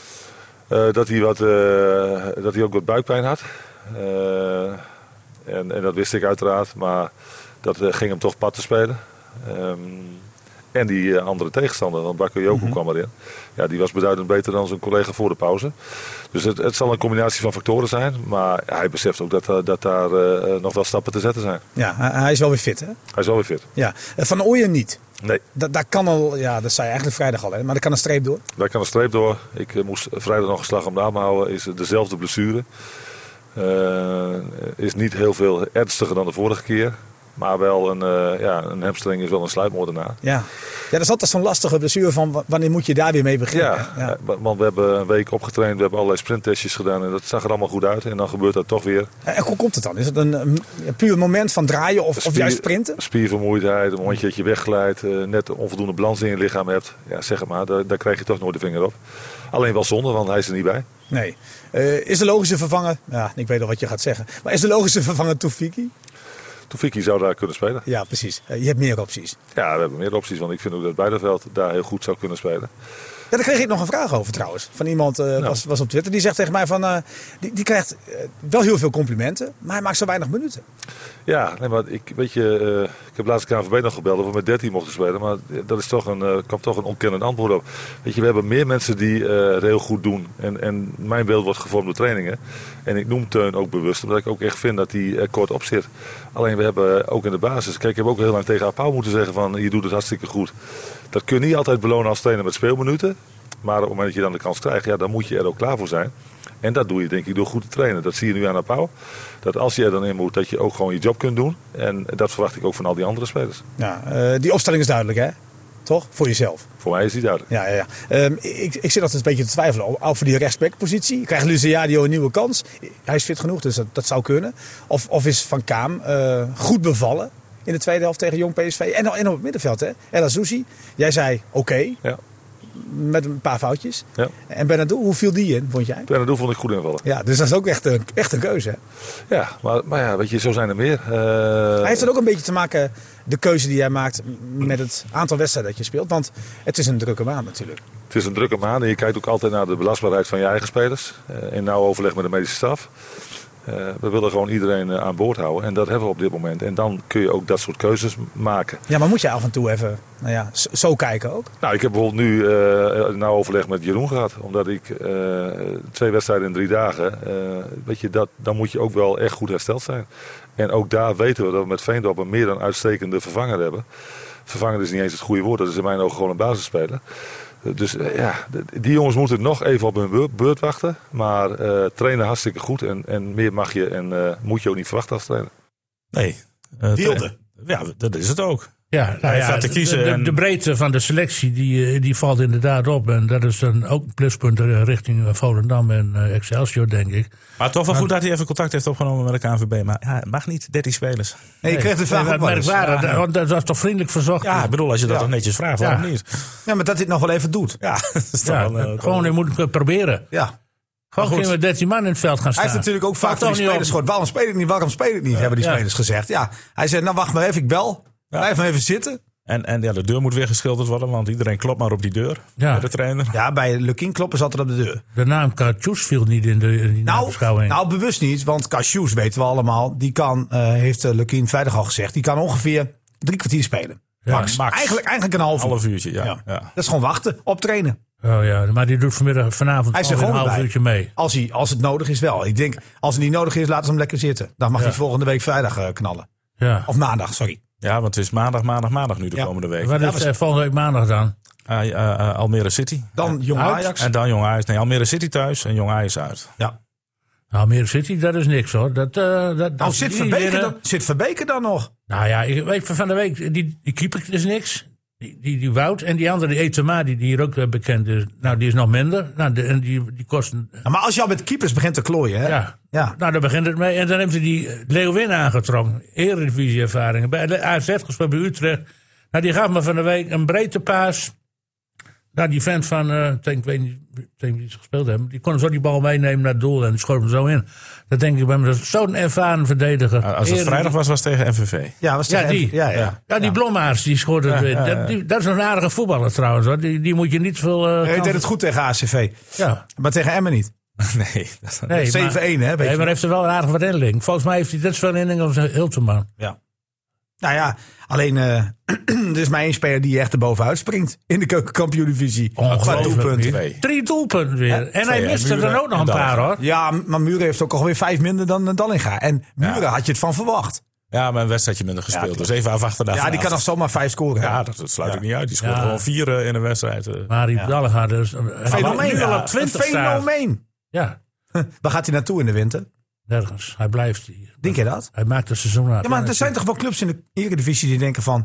Eh, dat, hij wat, eh, dat hij ook wat buikpijn had. Eh, en, en dat wist ik uiteraard, maar dat eh, ging hem toch pad te spelen. Ehm, en die eh, andere tegenstander, want Bakayoko kwam erin. Ja, die was beduidend beter dan zijn collega voor de pauze. Dus het, het zal een combinatie van factoren zijn. Maar hij beseft ook dat, eh, dat daar eh, eh, nog wel stappen te zetten zijn. Ja, hij is wel weer fit, hè? Hij is wel weer fit. Ja. Eh, Van Ooyen niet. Nee, Dat, daar kan al, ja, dat zei je eigenlijk vrijdag al, hè? maar daar kan een streep door. Daar kan een streep door. Ik eh, moest vrijdag nog een slag om de arm houden. Is eh, dezelfde blessure. Eh, is niet heel veel ernstiger dan de vorige keer. Maar wel een, eh, ja, een hamstring is wel een sluipmoordenaar. Ja. ja, dat is altijd zo'n lastige blessure van wa- wanneer moet je daar weer mee beginnen. Ja, hè? eh, want we hebben een week opgetraind. We hebben allerlei sprinttestjes gedaan. En dat zag er allemaal goed uit. En dan gebeurt dat toch weer. En hoe komt het dan? Is het een, een puur moment van draaien of, of Spier- juist sprinten? Spiervermoeidheid, een mondje dat je wegglijdt, eh, net onvoldoende balans in je lichaam hebt. Ja, zeg het maar, daar, daar krijg je toch nooit de vinger op. Alleen wel zonde, want hij is er niet bij. Nee. Eh, is de logische vervanger, ja, ik weet al wat je gaat zeggen, maar is de logische vervanger Toefiki? Tofiki zou daar kunnen spelen. Ja, precies. Eh, je hebt meer opties. Ja, we hebben meer opties, want ik vind ook dat Bijderveld daar heel goed zou kunnen spelen. Ja, daar kreeg ik nog een vraag over trouwens. Van iemand, eh, was, was op Twitter, die zegt tegen mij van... eh, die, die krijgt eh, wel heel veel complimenten, maar hij maakt zo weinig minuten. Ja, nee, maar ik, weet je, eh, ik heb laatst KNVB nog gebeld of we met 13 mochten spelen. Maar dat is toch een, eh, kwam toch een onkennend antwoord op. Weet je, we hebben meer mensen die eh, het heel goed doen. En, en mijn beeld wordt gevormd door trainingen. En ik noem Teun ook bewust, omdat ik ook echt vind dat hij er kort op zit. Alleen we hebben eh, ook in de basis... Kijk, ik heb ook heel lang tegen Apau moeten zeggen van je doet het hartstikke goed. Dat kun je niet altijd belonen als trainer met speelminuten. Maar op het moment dat je dan de kans krijgt, ja, dan moet je er ook klaar voor zijn. En dat doe je denk ik door goed te trainen. Dat zie je nu aan Apau. Dat als je er dan in moet, dat je ook gewoon je job kunt doen. En dat verwacht ik ook van al die andere spelers. Ja, eh, die opstelling is duidelijk, hè? Toch? Voor jezelf. Voor mij is die duidelijk. Ja, ja, ja. Ehm, ik, ik zit altijd een beetje te twijfelen o- over die rechtsbackpositie. Krijgt Luciadio een nieuwe kans? Hij is fit genoeg, dus dat, dat zou kunnen. Of, of is Van Kaam eh, goed bevallen in de tweede helft tegen Jong PSV? En, dan- en op het middenveld, hè? El Azouzi, jij zei oké, Ja. met een paar foutjes. Ja. En Benadou, hoe viel die in, vond jij? Bernardo vond ik goed invallen. Ja, dus dat is ook echt een, echt een keuze. hè? Ja, maar, maar ja, weet je, zo zijn er meer. Eh, Hij heeft het ook een beetje te maken, de keuze die jij maakt, m- met het aantal wedstrijden dat je speelt. Want het is een drukke maand natuurlijk. Het is een drukke maand en je kijkt ook altijd naar de belastbaarheid van je eigen spelers. Eh, in nauw overleg met de medische staf. Eh, we willen gewoon iedereen eh, aan boord houden. En dat hebben we op dit moment. En dan kun je ook dat soort keuzes m- maken. Ja, maar moet je af en toe even nou ja, zo, zo kijken ook? Nou, ik heb bijvoorbeeld nu eh nauw overleg met Jeroen gehad. Omdat ik eh, twee wedstrijden in drie dagen. eh, weet je, dat, dan moet je ook wel echt goed hersteld zijn. En ook daar weten we dat we met Veendorp een meer dan uitstekende vervanger hebben. Vervanger is niet eens het goede woord. Dat is in mijn ogen gewoon een basisspeler. Eh, Dus eh, ja, d- die jongens moeten nog even op hun beur- beurt wachten. Maar eh, trainen hartstikke goed. En, en meer mag je en eh, moet je ook niet verwachten als trainer. Nee. eh, Wilde. Ja, dat is het ook. Ja, nou Hij ja, gaat te de- kiezen De, en- de breedte van de selectie die, eh, die valt inderdaad op. En dat is dan ook een pluspunt eh, richting eh, Volendam en eh, Excelsior, denk ik. Maar toch wel Nou, goed dat hij even contact heeft opgenomen met de KNVB. Maar ja, het mag niet, 13 spelers. Nee, ik kreeg de vraag Nee, ook wat wel eens. merkwaardig, dat- Eh, want dat was toch vriendelijk verzocht? Ja, ik bedoel, als je dat Ja. toch netjes vraagt, waarom niet? Ja, maar dat dit nog wel even doet. Ja, <laughs> dat is toch Ja, wel, eh, gewoon, je moet het proberen. Ja. Gewoon goed. kunnen we 13 man in het veld gaan Hij staan. heeft natuurlijk ook vaak Valt van die niet op. spelers gehoord. Waarom speel ik niet? Waarom speel ik niet? hebben die ja. spelers gezegd. Ja. Hij zei, nou wacht maar even, ik bel. Blijf maar even zitten. En, en ja, de deur moet weer geschilderd worden, want iedereen klopt maar op die deur. Ja. Bij de trainer. Ja, bij Lukin kloppen zat er op de deur. De naam Katsjoes viel niet in de, in die Nou, beschouwing. nou, bewust niet, want Cashews weten we allemaal. Die kan, eh, heeft eh, Lukien vrijdag al gezegd, die kan ongeveer drie kwartier spelen. max. max. Eigenlijk, eigenlijk een half uur. Half uurtje, ja. Ja. ja. Dat is gewoon wachten op trainen. Oh ja, maar die doet vanmiddag, vanavond Hij is er alweer een gewoon half bij. uurtje mee. Als, hij, als het nodig is wel. Ik denk, als het niet nodig is, laten ze hem lekker zitten. Dan mag hij volgende week vrijdag eh, knallen. Ja. Of maandag, sorry. Ja, want het is maandag, maandag, maandag nu de Ja. komende week. Wat is eh, volgende week maandag dan? Ah, ja, eh, eh, Almere City. Dan jong Uit. Ajax. En dan Jong Ajax. Nee, Almere City thuis en Jong Ajax uit. Ja. Nou, Almere City, dat is niks hoor. Dat, eh dat, Nou, als zit die Verbeke, winnen- dan, zit Verbeke dan nog? Nou ja, ik weet van van de week, die, die keeper is niks. Die, die, die Wout en die andere, die Etema, die, die hier ook eh, bekend is. Nou, die is nog minder. Nou, de- en die, die kost... een- Nou, maar als je al met keepers begint te klooien, hè? Ja. Ja. Nou, daar begint het mee. En dan heeft hij die eh, Leeuwin aangetrokken. Eredivisie-ervaringen. Bij de AZ gespeeld bij Utrecht. Nou, die gaf me van de week een breedte paas. Nou, die vent van, eh, ik denk, ik weet niet, ik denk wie ze gespeeld hebben. Die kon hem zo die bal meenemen naar het doel en die schoot hem zo in. Dat denk ik bij me, dat is zo'n ervaren verdediger. Ah, Als het Eredivisie- vrijdag was, was het tegen MVV. Ja, was Ja, tegen- die. Ja, Ja, ja. die Blommaars, die schoot het weer. Dat, die- dat is een aardige voetballer trouwens. Hoor. Die, die moet je niet veel... eh, Hij kansen- deed het goed tegen ACV. Ja. Maar tegen Emmen niet. <laughs> Nee, dat- Nee, maar- 7-1, hè? weet Nee, je. maar heeft er wel een aardige verdeling. Volgens mij heeft hij net zoveel inning als Hilteman. Ja. Nou ja, alleen eh <clears throat> er is maar één speler die echt erbovenuit springt in de keukenkampioen-divisie. Qua Ongelooflijk, doelpunten. Mier. Twee. Drie doelpunten weer. en hij twee, miste Muren er ook nog en een paar Dallinga. hoor. Ja, maar Muren heeft ook alweer vijf minder dan Dallinga. En Muren had je het van verwacht. Ja, maar een wedstrijdje minder gespeeld. dus even afwachten daar Ja, die kan nog vanavond. zomaar vijf scoren. Ja, Ja, dat, dat sluit ik niet uit. Die scoort Ja. gewoon vier eh, in een wedstrijd. eh. Maar die Dallinga dus... fenomeen. Nu al Ja, op 20 een staat. fenomeen. Ja, Waar gaat hij naartoe in de winter? nergens. Hij blijft hier. Denk je dat? Hij maakt het seizoen uit. Ja, maar er zijn toch wel clubs in de Eredivisie die denken van...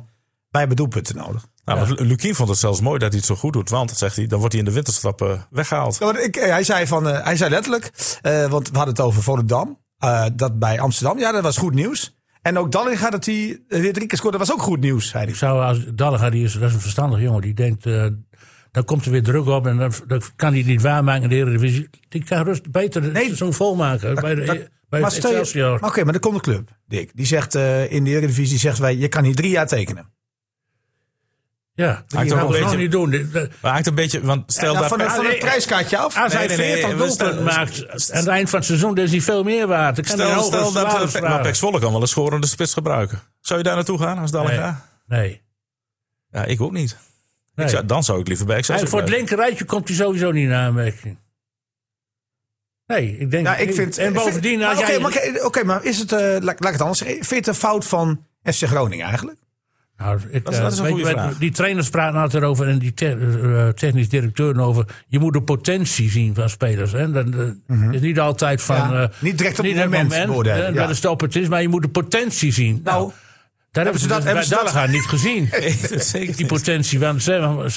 wij hebben doelpunten nodig. Nou, want Lu- Lukien vond het zelfs mooi dat hij het zo goed doet. Want, zegt hij, dan wordt hij in de winterstap eh, weggehaald. Ja, want ik, eh, hij, zei van, eh, hij zei letterlijk, eh, want we hadden het over Volendam. eh, dat bij Amsterdam, ja, dat was goed nieuws. En ook Dallinga dat hij eh, weer drie keer scoorde, dat was ook goed nieuws, zei hij. Ik zou als Dallega, die is, dat is een verstandig jongen, die denkt. eh, dan komt er weer druk op en dan, dan kan hij het niet waarmaken in de Eredivisie. Die kan rust beter het Nee, seizoen volmaken bij de, dat- bij Bij Maar, stel je- Excelsior. maar oké, maar dan komt de club, Dick. Die zegt eh, in de Eredivisie, die zegt wij, je kan hier drie jaar tekenen. Ja, ook dat gaan een we nog beetje- niet doen. Dit- dat- Maar eigenlijk een beetje, want stel Ja, dat... Nou, van, het, van het nee, prijskaartje af. Als hij nee, nee, 40 we doelpunten staan- maakt aan het eind van het seizoen, dan is hij veel meer waard. Ik kan Stel, een stel, hogere dat salaris eh, Pek- maar vragen. Pek Zwolle kan wel een schorende spits gebruiken. Zou je daar naartoe gaan als Dallinga? Nee. Nee. Ja, ik ook niet. nee. Ik zou, dan zou ik liever bij Excelsior Hij, voor het blijven. linkerrijtje komt hij sowieso niet in aanmerking. Nee, ik denk Ja, het Nou, ik niet. vind, En bovendien, vind- als maar jij... Oké, maar, oké, oké, maar is het, eh, laat, laat ik het anders zeggen. Vind je het een fout van FC Groningen eigenlijk? Nou, ik, Dat is- dat is een eh, goede weet je, vraag. Die trainers praten altijd over en die te- eh, technisch directeuren over. Je moet de potentie zien van spelers. Hè? Dat eh, is niet altijd van. Mhm. Ja, eh, niet direct op het moment beoordelen, hè, ja. Dat is de opportunist, maar je moet de potentie zien. Nou, Nou, daar hebben ze ze dat- dat hebben bij ze dat- Dallega niet <laughs> gezien. <laughs> Zeker Die niet. potentie van ze.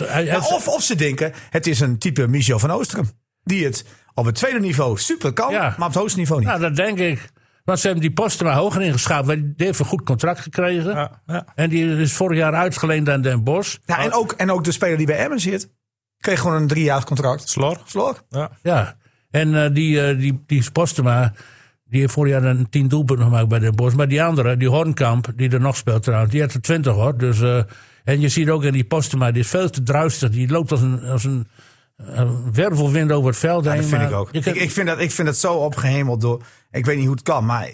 hij- ja, hij- of, of ze denken, het is een type Michel van Oostrum. Die het op het tweede niveau super kan, Ja. maar op het hoogste niveau niet. Nou, dat denk ik. Want ze hebben die posten maar hoger ingeschaald. want Die heeft een goed contract gekregen. Ja, ja. En die is vorig jaar uitgeleend aan Den Bosch. Ja, en, ook, en ook de speler die bij Emmen zit, kreeg gewoon een driejaars contract. Slor? Slok. Ja. Ja, en eh, die, eh, die, die Postema, die heeft vorig jaar een tien doelpunten gemaakt bij Den Bosch. Maar die andere, die Hornkamp, die er nog speelt trouwens, die had er twintig hoor. Dus, eh, en je ziet ook in die Postema, die is veel te druistig. Die loopt als een, als een, een wervelwind over het veld heen. dat vind maar ik ook. je Ik, kan- ik, vind dat, ik vind dat zo opgehemeld door... Ik weet niet hoe het kan, maar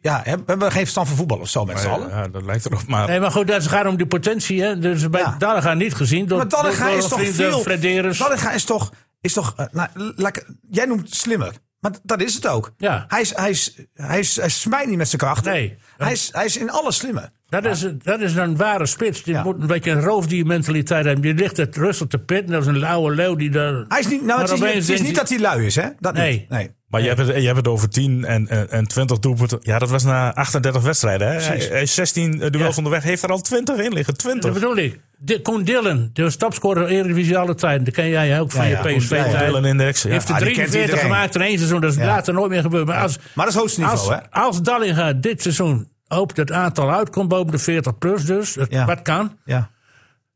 ja, hebben hebben we geen verstand van voetbal of zo met z'n allen? Ja, dat lijkt erop. Maar Nee, maar goed, dat gaat om die potentie. Hè? Dus bij Ja. ja. niet gezien. Door, Maar Dallinga door- door is toch vrienden, veel... Frederis. Dallinga is toch... Is toch eh, nou, laat ik- jij noemt slimmer. Maar d- dat is het ook. Ja. Hij, is, hij, is, hij, is, hij smijt niet met zijn krachten. Nee. Hij, is, hij is in alles slimmer. Dat, is, dat is een ware spits. Die Ja. moet een beetje een roofdiermentaliteit hebben. Die ligt het rustig te pitten. Dat is een lauwe leeuw die daar... Hij is niet, nou, het is, niet- opeens het denkt is niet hij- dat hij lui is, hè? Dat Nee. niet. nee. Maar je, hebt het, je hebt het over 10 en, en, en 20 doelpunten. Ja, dat was na 38 wedstrijden. Hè? Hij, hij is 16 duels Ja. onderweg. Heeft er al 20 in liggen. 20. Dat bedoel ik. De, Koen Dillen, de topscorer Eredivisie alle tijden. Dat ken jij ook van Ja, je ja, Koen PSV-tijd. Twee delen in de ex. Ja. heeft er ah, die kent 43 iedereen. gemaakt in één seizoen. Dat is later nooit meer gebeurd. Maar als, Maar dat is het hoogste niveau, als, hè? als Dallinga dit seizoen op dat aantal uitkomt, boven de 40 plus dus, het- Ja. wat kan, Ja.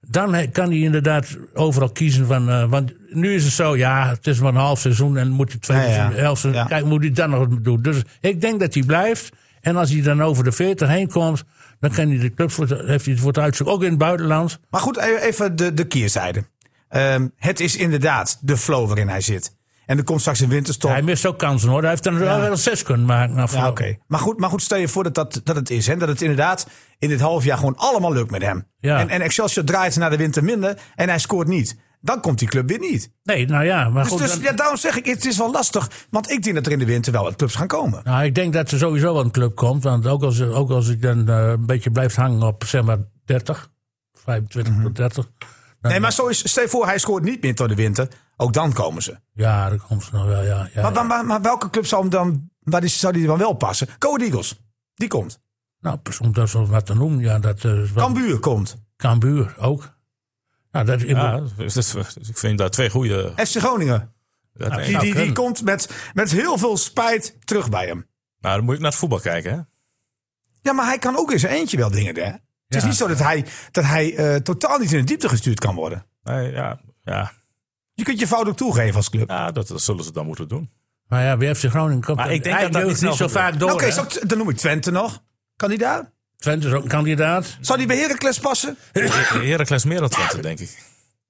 dan he- kan hij inderdaad overal kiezen. Van, eh, want nu is het zo, ja, het is maar een half seizoen en moet je twee Ja, ja. seizoenen, elf seizoenen, Ja. Kijk, moet hij dan nog wat doen. Dus ik denk dat hij blijft. En als hij dan over de 40 heen komt, dan kan hij de club voor, het- heeft hij het voor het uitzoeken. Ook in het buitenland. Maar goed, e- even de, de keerzijde. Ehm, het is inderdaad de flow waarin hij zit. En er komt straks een winterstop. Hij mist ook kansen hoor. Hij heeft er wel zes kunnen maken. nou, na Ja, verloop. oké. Maar, goed, maar goed, stel je voor dat, dat, dat het is. Hè? Dat het inderdaad in dit half jaar gewoon allemaal lukt met hem. Ja. En, en Excelsior draait naar de winter minder en hij scoort niet. Dan komt die club weer niet. Nee, nou ja, maar Dus, goed. dus dan- ja, daarom zeg ik, het is wel lastig. Want ik denk dat er in de winter wel wat clubs gaan komen. nou, ik denk dat er sowieso wel een club komt. Want ook als, ook als ik dan eh, een beetje blijft hangen op zeg maar 30, 25 Mhm. tot 30. dan- Nee, maar zo is, stel je voor, hij scoort niet meer tot de winter. Ook dan komen ze. Ja, dat komt ze nog wel. Ja, ja, Maar, ja. maar, maar, maar welke club zou, hem dan, waar die, zou die dan wel passen? Code Eagles, die komt. Nou, pas om dat zo wat te noemen. Ja, dat eh, is wel- Cambuur komt. Cambuur ook. Nou, dat, ik Ja, bedoel- dus dat- dus ik vind daar twee goede. FC Groningen. dat- Die, die, die kunnen. komt met, met heel veel spijt terug bij hem. Nou, dan moet ik naar het voetbal kijken. Hè? Ja, maar hij kan ook in zijn eentje wel dingen, hè? Het is Ja. niet zo dat hij, dat hij eh, totaal niet in de diepte gestuurd kan worden. Nee, ja, ja. Je kunt je fout ook toegeven als club. ja dat, dat zullen ze dan moeten <laughs> doen. maar ja, bij FC Groningen komt Maar dat- ik denk hij dat dat deugt niet niet snel zo gebeurt. vaak door. Nou, Oké, hè. zou ik- dan noem ik Twente nog. Kandidaat. Twente is ook een kandidaat. Zou die bij Heracles passen? Heracles meer dan Twente, denk ik.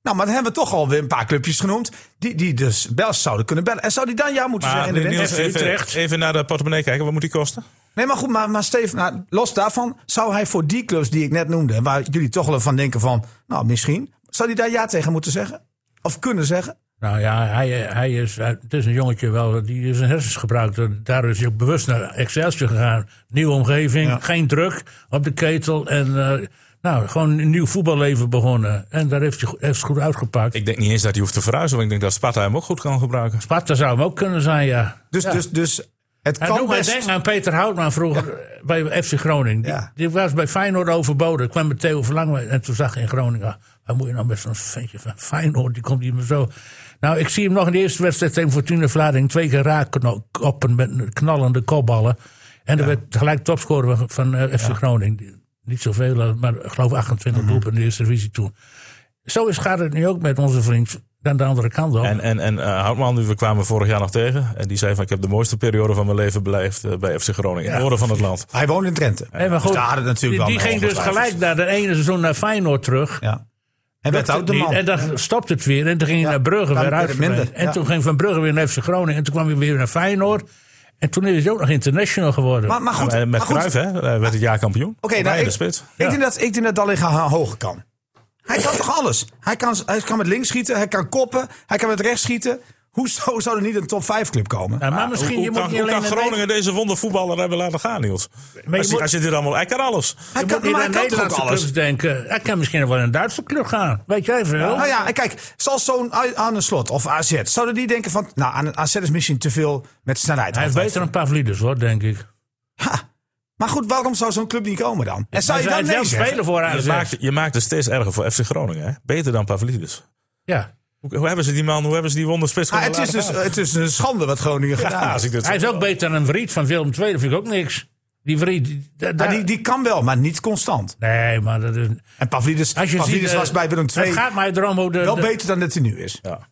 Nou, maar dan hebben we toch al weer een paar clubjes genoemd. Die, die dus wel zouden kunnen bellen. En zou die dan ja moeten Maar zeggen in de Niels, winter? even, even naar de portemonnee kijken. Wat moet die kosten? Nee, maar goed, maar, maar Steven, nou, los daarvan. Zou hij voor die clubs die ik net noemde. En waar jullie toch wel van denken van, nou misschien. Zou die daar ja tegen moeten zeggen? Of kunnen zeggen? Nou ja, hij, hij is, eh, het is een jongetje wel, die is een hersens gebruikt. Daar is hij ook bewust naar Excelsior gegaan. Nieuwe omgeving, geen druk op de ketel. En eh, nou, gewoon een nieuw voetballeven begonnen. En daar heeft hij go- heeft het goed uitgepakt. Ik denk niet eens dat hij hoeft te verhuizen. Want ik denk dat Sparta hem ook goed kan gebruiken. Sparta zou hem ook kunnen zijn, ja. Dus, Ja. dus, dus het Hij kan doet mij best... denken aan Peter Houtman vroeger bij FC Groningen. Die, Ja. die was bij Feyenoord overboden. kwam met Theo Verlangen en toen zag ik in Groningen... ah, wat moet je nou met zo'n ventje van Feyenoord? Die komt hier maar zo... Nou, ik zie hem nog in de eerste wedstrijd tegen Fortuna Vlaarding... twee keer raak kno- koppen met knallende kopballen. En er werd gelijk topscorer van, van eh, FC Groningen. Die- Niet eh, Mhm. zoveel, maar ik geloof 28 doelpunten in de eerste divisie toen. Zo is, gaat het nu ook met onze vriend dan de andere kant op. En, en, en eh, Houtman, die we kwamen vorig jaar nog tegen. En die zei van, ik heb de mooiste periode van mijn leven beleefd eh, bij FC Groningen. in het noorden van het land. Hij woonde in Drenthe. Hé, maar goed, Dus daar had het natuurlijk die, wel die ging dus ongetwijfeld. gelijk naar de ene seizoen naar Feyenoord terug. Ja. En werd ook de Die- man. En dan stopte het weer. En toen ging hij Ja, naar Brugge dan weer werd uit. het minder, En ja. toen ging Van Brugge weer naar FC Groningen. En toen kwam hij weer naar Feyenoord. En toen is hij ook nog international geworden. Maar, maar goed, Eh, Met maar goed. Cruijff, hè? eh, werd het jaar kampioen. Oké, Bij nou, de ik- spits. Ik, denk dat, ik denk dat Dallinga ho- hoger kan. Hij kan toch alles? Hij kan, hij kan met links schieten, hij kan koppen, hij kan met rechts schieten. Hoezo zou er niet een top 5 club komen? Ja, Nou, maar misschien, Hoe, hoe je kan, moet niet hoe kan alleen in Groningen deze wondervoetballer hebben laten gaan, Niels? je als, je- moet- als je dit allemaal... Hij kan alles. hij Je kan, moet niet maar naar hij kan toch ook Nederlandse alles? clubs denken. Hij kan misschien wel naar een Duitse club gaan. Weet jij veel? Nou ja, en kijk, zoals zo'n A- aan een slot of AZ, zouden die denken van, nou, aan AZ is misschien te veel met snelheid. hij heeft altijd. beter een Pavlidis, hoor, denk ik. Ha. Maar goed, waarom zou zo'n club niet komen dan? En zou je hij dan is wel nee zeggen? speler voor Je AZ. dus maakt, je maakt het steeds erger voor FC Groningen, hè? Beter dan Pavlidis. Ja. Hoe, hoe hebben ze die man, hoe hebben ze die wonderspits Ah, kunnen het, is laten dus, gaan? het is een schande wat Groningen gedaan Ja, heeft. als ik dit Hij is ook beter dan een Vriet van Willem II. Dat vind ik ook niks. Die Vriet... die- da- Maar da- Nou, die, die kan wel, maar niet constant. Nee, maar dat is... En Pavlidis, Als je Pavlidis ziet, eh, was bij Willem II Het gaat mij erom hoe de... wel de- beter dan dat hij nu is. Ja.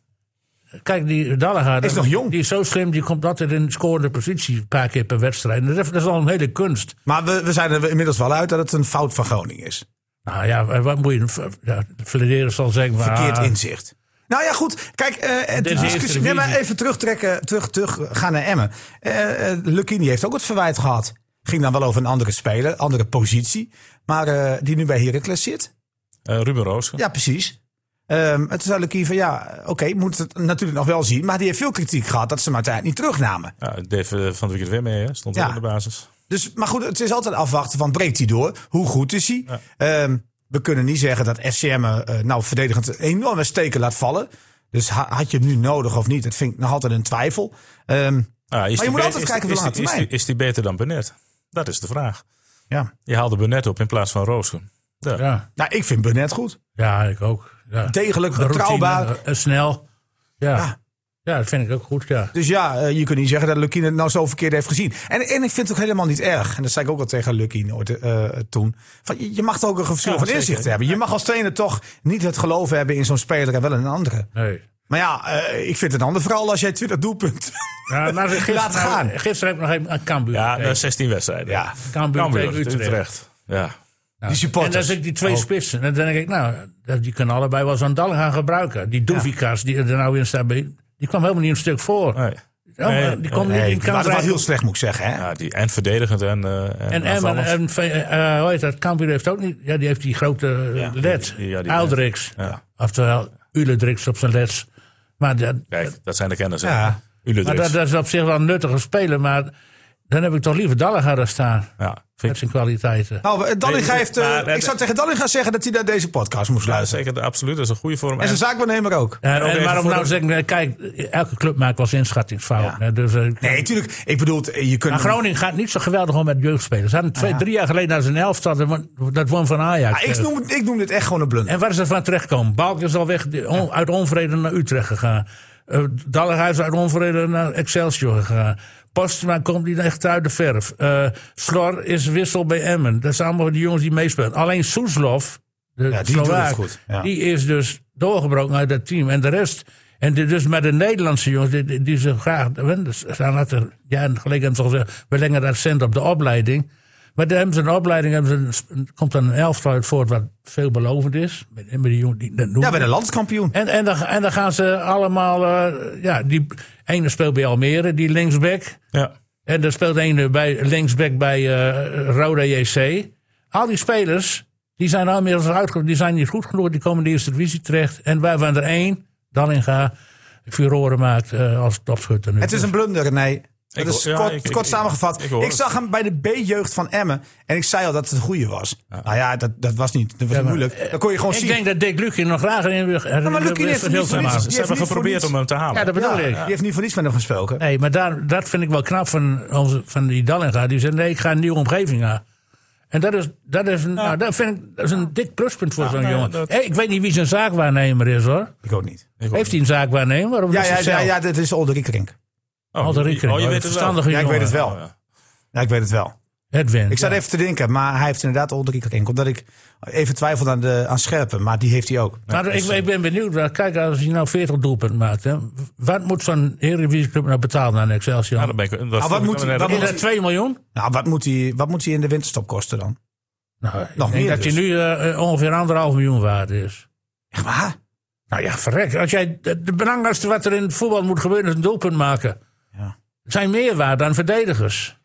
Kijk, die Dallega... Is nog jong. Die is zo slim, die komt altijd in scorende positie een paar keer per wedstrijd. En Dat is, dat is al een hele kunst. Maar we, we zijn er inmiddels wel uit dat het een fout van Groningen is. Nou ja, wat moet je... Ja, Flederen zal zeggen... maar, Verkeerd ah, inzicht. Nou ja, goed. Kijk, eh de Dit is de discussie. Eredivisie. Nee, maar even terugtrekken, terug, terug gaan naar Emmen. Eh eh, Lucchini heeft ook het verwijt gehad. Ging dan wel over een andere speler, andere positie. Maar eh, die nu bij Heracles zit. Eh, Ruben Roos. Ja, precies. Ehm en toen zei Lucchini van ja, oké, moet het natuurlijk nog wel zien. Maar die heeft veel kritiek gehad dat ze hem uiteindelijk niet terugnamen. Ja, Dave eh, van het weekend weer mee, hè? stond Ja. ook in de basis. Dus, maar goed, het is altijd afwachten van breekt hij door? Hoe goed is hij? Ehm, we kunnen niet zeggen dat FCM eh, nou verdedigend enorme steken laat vallen. Dus ha- had je hem nu nodig of niet? Dat vind ik nog altijd een twijfel. Ehm, Ah, is Maar die je moet be- altijd is- kijken is op die- de lange is die- termijn. Is die beter dan Benet? Dat is de vraag. ja. Je haalde Benet op in plaats van Roosken. Daar. Ja, Nou, ik vind Burnett goed. ja, ik ook. Ja. Degelijk, Routine, betrouwbaar. eh, eh, snel. Ja. Ja. ja. dat vind ik ook goed, ja. Dus ja, eh, je kunt niet zeggen dat Lukien het nou zo verkeerd heeft gezien. En, en ik vind het ook helemaal niet erg. En dat zei ik ook al tegen Lukien ooit, eh, toen. Van, je je mag toch ook een verschil Ja, van zeker. inzicht hebben. Je mag als trainer toch niet het geloof hebben in zo'n speler en wel in een andere. Nee. Maar ja, eh, ik vind het ander vooral als jij 20 doelpunten Ja, maar gisteren, <laughs> Laat gaan. nou, gisteren heb ik nog even aan Cambuur Ja, gekeken. na 16 wedstrijden. <laughs> Nou, Ja. Cambuur Cambuur, tegen Utrecht. Oh. Utrecht. Ja. Die supporters. En dan zit ik die twee spitsen. En dan denk ik, nou, dat- die kunnen allebei wel zo'n dal gaan gebruiken. Die Doevikas die er nou in staat bij, die kwam helemaal niet een stuk voor. Nee. Ja, maar Nee, die kwam Nee, niet in die waren kans. wel uit. heel slecht, moet ik zeggen. Hè? Ja, die, en verdedigend en, eh en, En Emmen, aanvallend. en, eh, eh, hoe heet dat, Cambuur heeft ook niet, ja, die heeft die grote eh, led, die- ja, die Aldrix. led. Ja. Oftewel, Uledrix op zijn leds. Maar dat, Kijk, dat zijn de kennis. hè. Ja. Ulederis. maar dat, dat is op zich wel een nuttige speler, maar dan heb ik toch liever Dallega daar staan. Ja, vind Met ik zijn kwaliteiten. Nou, Dallinga Nee, heeft, eh, maar- ik zou tegen Dallinga zeggen dat hij naar deze podcast moest ja, luisteren. zeker de- absoluut. Dat is een goede vorm. En zijn zaakwaarnemer ook. En, ook en even waarom voor nou de- zeggen, eh, kijk, elke club maakt wel eens inschattingsfouten. hè, Dus, eh, Nee, tuurlijk. Ik bedoel, eh, je kunt... maar Groningen gaat niet zo geweldig om met jeugdspelers. Ze hadden twee, drie jaar geleden naar zijn elftal, dat won- dat won van Ajax. Ah, ik, noem, ik noem dit echt gewoon een blunder. En waar is er van terechtkomen? Balk is al weg, die- on- uit onvrede naar Utrecht gegaan. Eh Dallerhuis is uit onvrede naar Excelsior gegaan. Postma komt niet echt uit de verf. Eh Slor is wissel bij Emmen. Dat zijn allemaal die jongens die meespelen. Alleen Soeslof, de Ja, die doet het Slovaak, goed, ja. die is dus doorgebroken uit dat team. En de rest... En dit dus met de Nederlandse jongens die, die, die ze graag... hè, Ze hadden er jaren geleden hebben ze al gezegd... we leggen dat cent op de opleiding. Maar daar hebben ze een opleiding... Hebben ze een sp- een- komt dan een elftal uit voort wat veelbelovend is. Met, met die jongen, die, dat doen Ja, we. bij de landskampioen. En, en, dan, en dan gaan ze allemaal... eh, ja, die ene speelt bij Almere, die linksback. Ja. En dan speelt een eh, bij, linksback bij eh Roda JC. Al die spelers, die zijn nou inmiddels uitge- die zijn niet goed genoeg. Die komen in de eerste divisie terecht. En wij waren er één, Dallinga, furoren maakt eh, als topschutter nu. Het is een blunder, nee. Dat hoor- is ja, kort, ik- ik- kort ik- samengevat. ik Ik, hoor het. zag hem bij de B-jeugd van Emmen. En ik zei al dat het een goede was. Nou ja, dat, dat was niet, dat was niet eh, moeilijk. Dat kon je gewoon Ik zien. denk dat Dick Lucien nog graag in wil. Ja, maar Lucien heeft hem niet voor niets. Ze Die hebben heeft niet geprobeerd voor om hem te halen. Ja, dat bedoel Ja, ik. Die heeft niet voor niets met hem gesproken. Nee, maar daar, dat vind ik wel knap van, onze, van die Dallinga. Die zei, nee, ik ga een nieuwe omgeving aan. En dat is, dat is, een- nou, dat vind ik, dat is een dik pluspunt voor zo'n nou ja, jongen. dat- Hé, ik weet niet wie zijn zaakwaarnemer is, hoor. Ik ook niet. Heeft hij een zaakwaarnemer? Of Ja, is ja, hij ja, zelf? ja, dat is Olderik Rink. Oh, Alderikering. oh, je Een weet het wel. verstandige Ja, ik weet jongen. het wel. Ja. Ja, ik weet het wel. Edwin. Ik zat ja. even te denken, maar hij heeft inderdaad Oldrich Renk. Omdat ik even twijfelde aan, de, aan Scherpen, maar die heeft hij ook. Maar ik, ik ben benieuwd, want kijk, als je nou 40 doelpunten maakt, hè, wat moet zo'n Eredivisie-club nou betalen aan Excelsior? Ja, dan ben ik, dat wat moet- dat- wat is moet- dat 2 miljoen? Nou, wat moet, hij, wat moet hij in de winterstop kosten dan? Nou, ik Nog denk meer dat dus. hij nu eh, eh, ongeveer anderhalf miljoen waard is. Echt waar? Nou ja, verrek. Als jij, de, de belangrijkste wat er in het voetbal moet gebeuren is een doelpunt maken. Ja. Zijn meer waard dan verdedigers.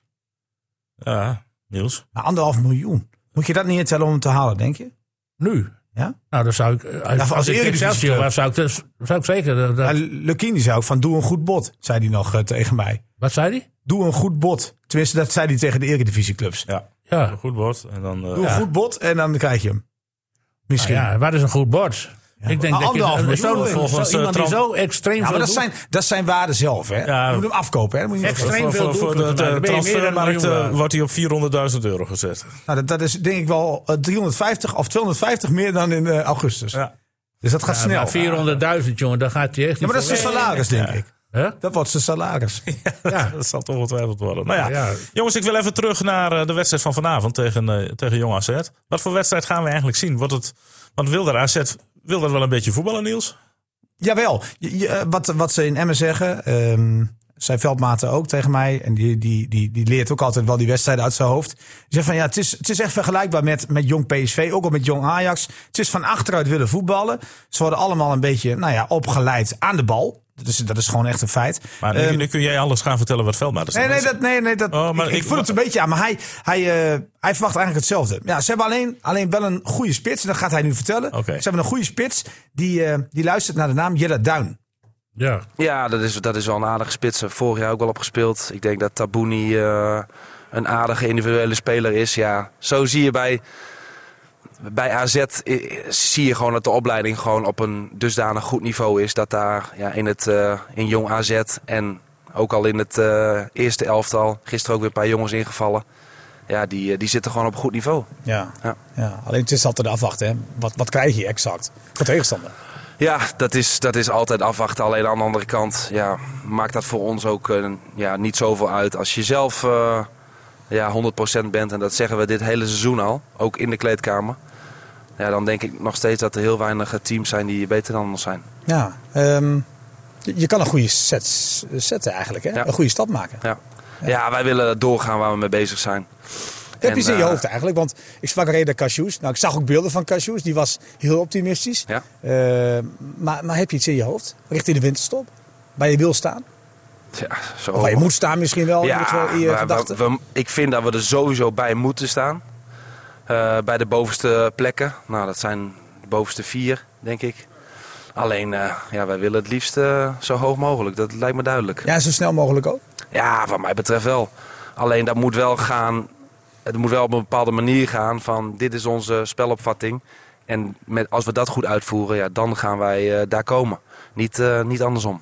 ja, Niels. Nou, anderhalf miljoen. Moet je dat niet tellen om hem te halen, denk je? Nu. Ja? Nou, dan zou ik. eh, Als, als als ik Eredivisie Excelsior club. was, zou ik, dus- zou ik zeker. dat- dat- Ja, Lukien die zei ook van doe een goed bod, zei hij nog eh, tegen mij. wat zei hij? Doe een goed bod. Tenminste, dat zei hij tegen de eredivisieclubs. Ja, Ja. goed bord. En dan, eh, Doe ja. een goed bod en dan krijg je hem. Misschien. Nou ja, wat is een goed bord? Ik denk maar dat anderhalf je, miljoen, zo'n- eh, volgens, zo, iemand eh, die Trump- zo extreem Ja, veel Nou, maar dat doel- zijn, dat zijn waarden zelf. Hè? Ja. Je moet hem afkopen. Hè? Moet je niet Extreem Voor, veel voor, voor de, doelpunten maken, de dan ben je meer dan transfermarkt miljoen eh, waard. wordt hij op 400.000 euro gezet. Nou, dat, dat is denk ik wel eh, 350 of 250 meer dan in eh, augustus. Ja. Dus dat gaat Ja, snel. maar 400.000, Nou, jongen, daar gaat hij echt Ja, maar dat is zijn salaris, denk ik. Huh? Dat wordt zijn salaris. <laughs> Ja, <laughs> dat zal toch ongetwijfeld worden. Nou ja, Ja, ja. jongens, ik wil even terug naar eh, de wedstrijd van vanavond tegen, eh, tegen Jong AZ. Wat voor wedstrijd gaan we eigenlijk zien? Wordt het, want wil daar AZ wil dat wel een beetje voetballen, Niels? Jawel, Je- je, eh, wat, wat ze in Emmen zeggen, ehm, zijn veldmaten ook tegen mij. En die, die, die, die leert ook altijd wel die wedstrijden uit zijn hoofd. Die zegt van ja, het is, het is echt vergelijkbaar met, met jong PSV, ook al met jong Ajax. Het is van achteruit willen voetballen. Ze worden allemaal een beetje nou ja, opgeleid aan de bal. Dus dat is gewoon echt een feit. Maar nu, Ehm, nu kun jij alles gaan vertellen wat Veldmaat is. Nee, nee, dat, nee, nee dat, Oh, maar ik, ik ik- voel het een beetje aan. Maar hij, hij, eh, hij verwacht eigenlijk hetzelfde. Ja, ze hebben alleen, alleen wel een goede spits. En dat gaat hij nu vertellen. Oké. Ze hebben een goede spits. Die, eh, die luistert naar de naam Jelle Duin. Ja. Ja, dat is, dat is wel een aardige spits. Daar heb ik Vorig jaar ook wel op gespeeld. Ik denk dat Tabouni eh, een aardige individuele speler is. Ja, zo zie je bij, bij AZ eh, zie je gewoon dat de opleiding gewoon op een dusdanig goed niveau is. Dat daar ja, in, het, eh, in jong AZ en ook al in het eh, eerste elftal, gisteren ook weer een paar jongens ingevallen. Ja, die, eh, die zitten gewoon op een goed niveau. Ja. Ja. Ja, alleen het is altijd afwachten. Hè. Wat, wat krijg je exact voor tegenstander? Ja, dat is, dat is altijd afwachten. Alleen aan de andere kant ja, maakt dat voor ons ook eh, ja, niet zoveel uit. Als je zelf eh, ja, 100% bent, en dat zeggen we dit hele seizoen al, ook in de kleedkamer. Ja, dan denk ik nog steeds dat er heel weinig eh, teams zijn die beter dan ons zijn. Ja, ehm, je, je kan een goede set zetten eigenlijk. Hè? Ja. Een goede stap maken. Ja. ja, wij willen doorgaan waar we mee bezig zijn. Heb je iets in je eh, hoofd eigenlijk? Want ik sprak reden Cashews. Nou, ik zag ook beelden van Cashews. Die was heel optimistisch. Ja. Eh, maar, maar heb je iets in je hoofd? Richting de winterstop? Waar je wil staan? Ja, zo. Of waar je moet staan misschien wel? in ieder geval in Oh, je Oh. maar gedachten. we- we- ik vind dat we er sowieso bij moeten staan. Eh, bij de bovenste plekken. Nou, dat zijn de bovenste vier, denk ik. Alleen, eh, ja, wij willen het liefst eh, zo hoog mogelijk. Dat lijkt me duidelijk. Ja, zo snel mogelijk ook. Ja, wat mij betreft wel. Alleen dat moet wel gaan. Het moet wel op een bepaalde manier gaan van dit is onze spelopvatting. En met, als we dat goed uitvoeren, ja, dan gaan wij eh, daar komen. Niet, eh, niet andersom.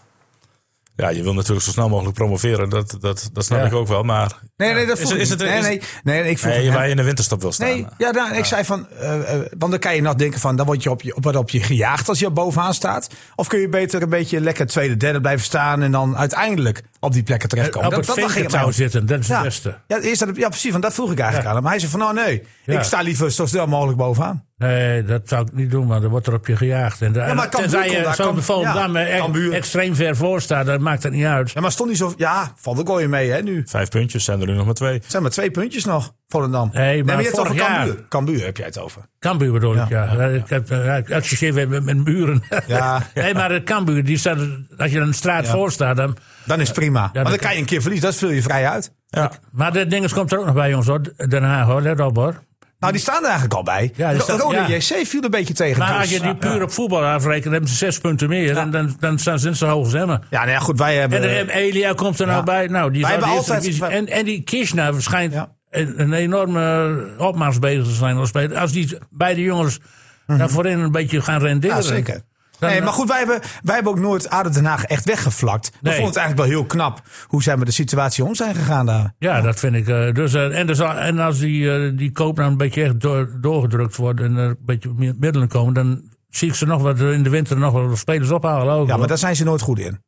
Ja, je wil natuurlijk zo snel mogelijk promoveren. Dat, dat, dat snap ik ook wel. Maar Nee, nee, dat Is voel het- ik is niet. het- nee, is- nee, nee, nee, ik voel nee, het- waar je in de winterstop wil staan. eh, Nee, ja, nou, ik zei van, eh, eh, want dan kan je nog denken van, dan word je op je, op, op je gejaagd als je er bovenaan staat. Of kun je beter een beetje lekker tweede, derde blijven staan en dan uiteindelijk op die plekken terechtkomen. op het ging vinkertouw mij om. zitten, Eh, dat is ja, het beste. Ja, eerst dat, ja, precies, want dat vroeg ik eigenlijk aan hem. Maar hij zei van, nou nee, Ja. ik sta liever zo snel mogelijk bovenaan. Nee, dat zou ik niet doen, want dan wordt er op je gejaagd. En, ja, maar Cambuur tenzij komt je daar, zo Cambuur- de Volendam ja, eh, echt Cambuur. extreem ver voor staat, dat maakt het niet uit. Ja, maar stond hij zo, ja, valt ook al je mee hè, nu. Vijf puntjes, zijn er nu nog maar twee. zijn maar twee puntjes nog, Volendam. Nee, maar je hebt het vorig over jaar- Cambuur. Cambuur heb jij het over. Cambuur bedoel ik, ja. Ik heb eh, ik associeer weer met, met buren. Ja. <laughs> nee, maar het Cambuur, die staat, als je een straat voor staat... Dan, Dan is het prima. Maar dan dat- kan je een keer verliezen, dat vul je vrij uit. Ja. maar dat ding is, komt er ook nog bij, jongens, hoor. Den Haag, hoor. Let op, hoor. Nou, die staan er eigenlijk al bij. Ja, die Ro- staan- Rode ja. JC viel een beetje tegen. Maar dus. als je die puur op voetbal afrekent, dan hebben ze zes punten meer. En dan, dan staan ze in zo hoog als Emmen. Ja, nou ja, goed, wij hebben... En er- Elia komt er nou ja. bij. Nou, die Wij zou de hebben eerste altijd- divisie- en, en die Kishna schijnt Ja. een, een enorme opmars bezig te zijn als speler. Als die beide jongens daar voorin een beetje gaan renderen. Mhm. Ja, zeker. Dan- eh, nee, maar goed, wij hebben, wij hebben ook nooit ADO Den Haag echt weggevlakt. We Nee. vonden het eigenlijk wel heel knap hoe zij met de situatie om zijn gegaan daar. Ja, dat vind ik. eh, dus, eh, en, dus, eh, en als die, eh, die koop nou een beetje echt door- doorgedrukt wordt en er een beetje meer middelen komen, dan zie ik ze nog wat eh, in de winter nog wel spelers ophalen. Ook, Ja, maar hoor. daar zijn ze nooit goed in.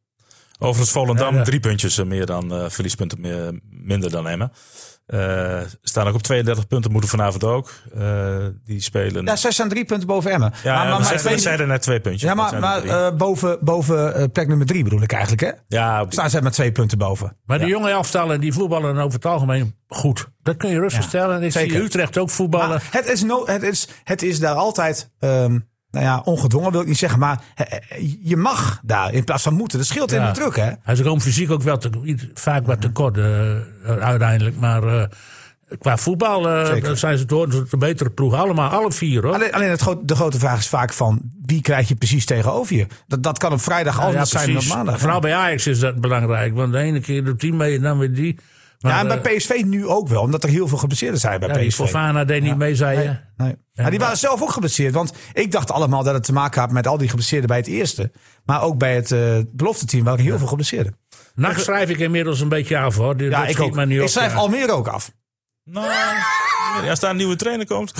Overigens Volendam Ja, ja. drie puntjes eh, meer dan eh, verliespunten meer, minder dan Emmen. Eh, staan ook op 32 punten, moeten vanavond ook. Eh, die spelen. Ja, zij staan drie punten boven Emmen. Ja, maar, we maar, maar, zeiden- we tweede- zeiden net twee puntjes. ja, Dat maar, zijn er maar drie. eh, boven, boven eh, plek nummer drie bedoel ik eigenlijk, hè? ja, op- Staan zij met twee punten boven. Maar die jonge elftallen die voetballen over het algemeen goed. Dat kun je rustig Ja, stellen. Ik zeker. zie Utrecht ook voetballen. Maar het, is no, het, is, het is daar altijd, ehm, nou ja, ongedwongen wil ik niet zeggen. Maar eh, eh, je mag daar in plaats van moeten. Dat scheelt in Ja. de druk, hè? Hij is gewoon fysiek ook wel te, iets- vaak Mhm. wat tekort eh, uiteindelijk. Maar eh, qua voetbal eh, Zeker. zijn ze toch de betere ploeg. Allemaal, alle vier hoor. Alleen, alleen het groot- de grote vraag is vaak van wie krijg je precies tegenover je? Dat, dat kan op vrijdag Ja, anders zijn dan op precies. maandag. Vooral bij Ajax is dat belangrijk. Want de ene keer doet die mee en dan weer die. Maar, ja, en bij eh, PSV nu ook wel, omdat er heel veel geblesseerden zijn bij ja, die PSV. Fofana deed niet mee, zei je. Nee. Maar die waren zelf ook geblesseerd. Want ik dacht allemaal dat het te maken had met al die geblesseerden bij het eerste. Maar ook bij het eh belofte team waren heel veel geblesseerden. Nacht schrijf ik inmiddels een beetje af hoor. Die- Ja, dat ik schiet ook. mij niet op, ik schrijf ja. Almere ook af. nou, ja, als daar een nieuwe trainer <laughs> komt.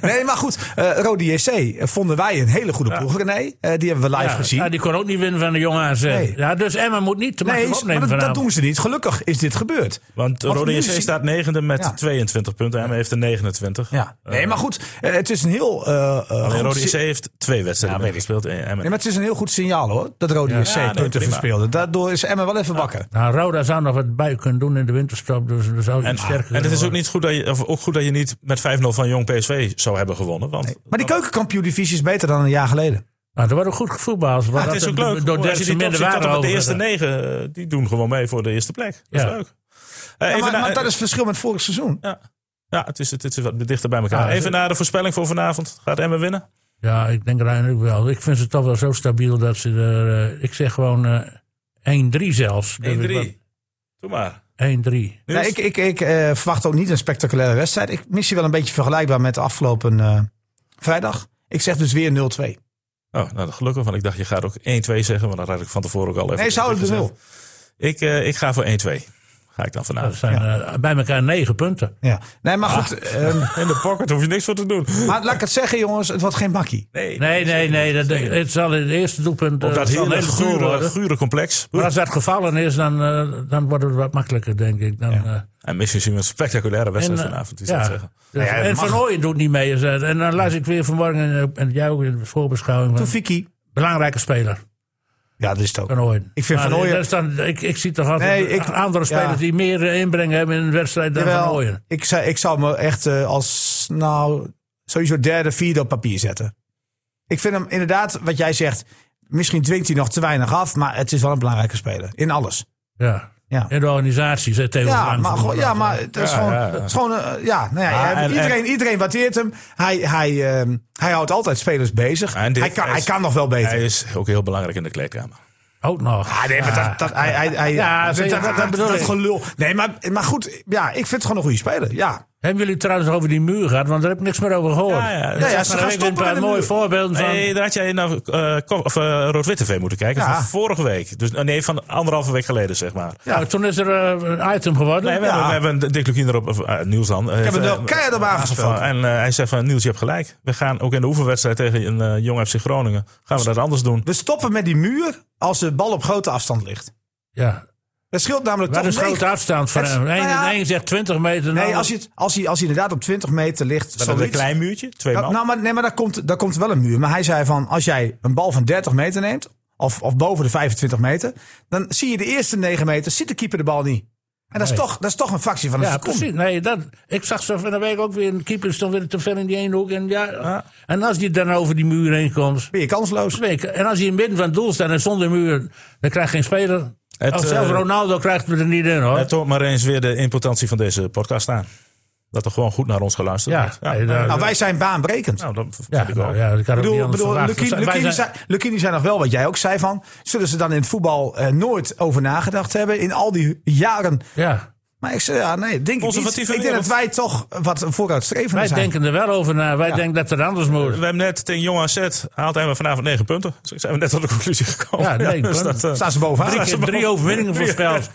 Nee, maar goed. eh Rode JC eh, vonden wij een hele goede ploeg, René. Eh, die hebben we live Ja, gezien. ja, die kon ook niet winnen van de jonge AZ. Nee. Ja, dus Emma moet niet te nee, makkelijk maar opnemen dat, dat vanavond. doen ze niet. Gelukkig is dit gebeurd. Want Want Rode nu JC zie- staat negende met Ja. 22 punten. En hij heeft er 29. Ja. Nee, maar goed. eh, het is een heel... eh, eh, goed Alleen Rode si- JC heeft twee wedstrijden Ja, meer weet ik. gespeeld. En Emmen- Nee, maar het is een heel goed signaal hoor. Dat Rode Ja. JC Ja, nee, punten prima. verspeelde. Daardoor is Emma wel even wakker. Nou, Roda zou nog wat bij kunnen doen in de winterstop. Dus er zou En, iets sterker en het kunnen is ook, worden. niet goed dat je, of ook goed dat je niet met 5-0 van Jong PSV zou hebben gewonnen. Want Maar die keukenkampioen-divisie is beter dan een jaar geleden. Nou, er wordt ook goed voetbal. Ja, het is ook leuk. Door als je Derksen die top minder ziet, tot en waren met de over. eerste negen, eh, die doen gewoon mee voor de eerste plek. Dat Ja. is leuk. Eh, Ja, even maar, naar- maar dat is het verschil met vorig seizoen. ja. Ja, het is, het is wat dichter bij elkaar. Ja, even ze- naar de voorspelling voor vanavond. Gaat Emmen winnen? Ja, ik denk Rijn ook wel. Ik vind ze toch wel zo stabiel dat ze er... eh, ik zeg gewoon eh 1-3 zelfs. Dat ik wel- 1-3. Doe maar. 1-3. Niels? Nee, ik ik, ik eh, verwacht ook niet een spectaculaire wedstrijd. Ik mis je wel een beetje vergelijkbaar met de afgelopen eh, vrijdag. Ik zeg dus weer 0-2. Oh, nou, gelukkig, want ik dacht je gaat ook 1-2 zeggen. Maar dat had ik van tevoren ook al even Nee, ze houden de gezegd. nul. Ik, eh, ik ga voor 1-2. Ga ik dan Dat vanavond. zijn eh, bij elkaar 9 punten. Ja. Nee, maar Ah. goed. ehm, In de pocket hoef je niks voor te doen. maar laat ik het zeggen, jongens. Het wordt geen makkie. Nee, Nee, nee, nee. Dat, het zal in het eerste doelpunt... Op eh, dat zal een hele hele goal gure, worden. gure complex. Maar als dat gevallen is, dan, eh, dan wordt het wat makkelijker, denk ik. Dan, eh, En misschien zien we een spectaculaire wedstrijd eh, vanavond. Is ja. dat zeggen. Dus- Nou ja, en mag. Van Ooyen doet niet mee. is het. En dan las ik weer vanmorgen eh, en jou ook in de voorbeschouwing. van- Toefiki. belangrijke speler, Ja, dat is het ook. Van Ooyen. Ik vind Maar eh, Van Ooyen- dat is dan- ik, ik zie toch altijd Nee, ik- andere ja. spelers die meer eh, inbreng hebben in een wedstrijd dan Van Jawel, Ooyen. ik, zou, ik zou me echt eh, als, nou, sowieso derde, vierde op papier zetten. Ik vind hem inderdaad, wat jij zegt, misschien dwingt hij nog te weinig af. Maar het is wel een belangrijke speler. In alles. Ja. Ja. In de organisatie zit Theo Ja, Frank maar, van gewoon, Ooyen. ja, maar het is Ja, gewoon. ja, ja. het is gewoon, eh, ja, nou ja, Ah, hij- en- iedereen, iedereen waardeert hem. Hij, hij, ehm, hij houdt altijd spelers bezig. En dit- hij, kan, hij hij is- kan nog wel beter. Hij is ook heel belangrijk in de kleedkamer. Ook nog. Ah, nee, maar dat, dat, hij, hij, hij- Ja, dat, zeker, dat, dat dat- bedoel dat ik. gelul. Nee, maar, maar goed, ja, ik vind het gewoon een goede speler. Ja. Hebben jullie het trouwens over die muur gehad? Want daar heb ik niks meer over gehoord. Ja, ja. Ik Ja, ja, zag ze van de week gaan weer een stoppen met paar de mooie muur. voorbeelden van. Nee, daar had jij naar eh, Ko- of, eh, Rood-Wit TV moeten kijken. Ja. Van vorige week. Dus, eh, nee, van anderhalve week geleden, zeg maar. Nou, toen is er eh, een item geworden. Nee, we, hebben, we hebben Dick Lukien erop, of, eh, Niels dan. Ik hem er keihard op aangesproken. En eh, hij zei van, Niels, je hebt gelijk. We gaan ook in de oefenwedstrijd tegen een eh, jong FC Groningen, gaan we dat anders doen. We stoppen met die muur als de bal op grote afstand ligt. ja. Dat scheelt namelijk Waar toch is grote negen- afstand van Het- hem? nou Eén ja. één zegt 20 meter. Nee, nou, als hij, het- als, hij, als hij inderdaad op 20 meter ligt. Met een zoiets. klein muurtje, twee Nou, man. nou, maar, nee, maar daar komt, daar komt wel een muur. Maar hij zei van, als jij een bal van 30 meter neemt, of, of boven de 25 meter, dan zie je de eerste 9 meter, ziet de keeper de bal niet. En dat, is, toch, dat is toch een fractie van een Ja, seconde. precies. Nee, dat, ik zag zo van de week ook weer een keeper stond weer te ver in die ene hoek. En, ja, en als die dan over die muur heen komt. Ben je kansloos? week, En als hij in het midden van het doel staat en zonder muur, dan krijgt geen speler. Het, of zelfs eh, Ronaldo krijgt het er niet in hoor. Het toont Eh, maar eens weer de impotentie van deze podcast aan. Dat er gewoon goed naar ons geluisterd Ja, wordt. nee, daar- Nou, wij zijn baanbrekend. nou, dat vind ja, ik nou, ook. ja, dat kan Ik ook niet bedoel, anders bedoel verwachten. Lukini, Wij Lukini, zijn- zei, Lukini zei nog wel wat jij ook zei van... zullen ze dan in het voetbal eh, nooit over nagedacht hebben... in al die jaren. ja, Maar ik zei, ja, nee, denk ik niet. Conservatieve Ik denk wereld. dat wij toch wat vooruitstrevender wij zijn. denken er wel over na. Wij denken dat er anders moet. We hebben net tegen Jong AZ haalt hij vanavond 9 punten. Dus zijn we net tot de conclusie <laughs> gekomen. Ja, negen punten. eh, Staan ze bovenaan. drie Staan ze keer boven- drie <laughs> overwinningen drie- voorspeld.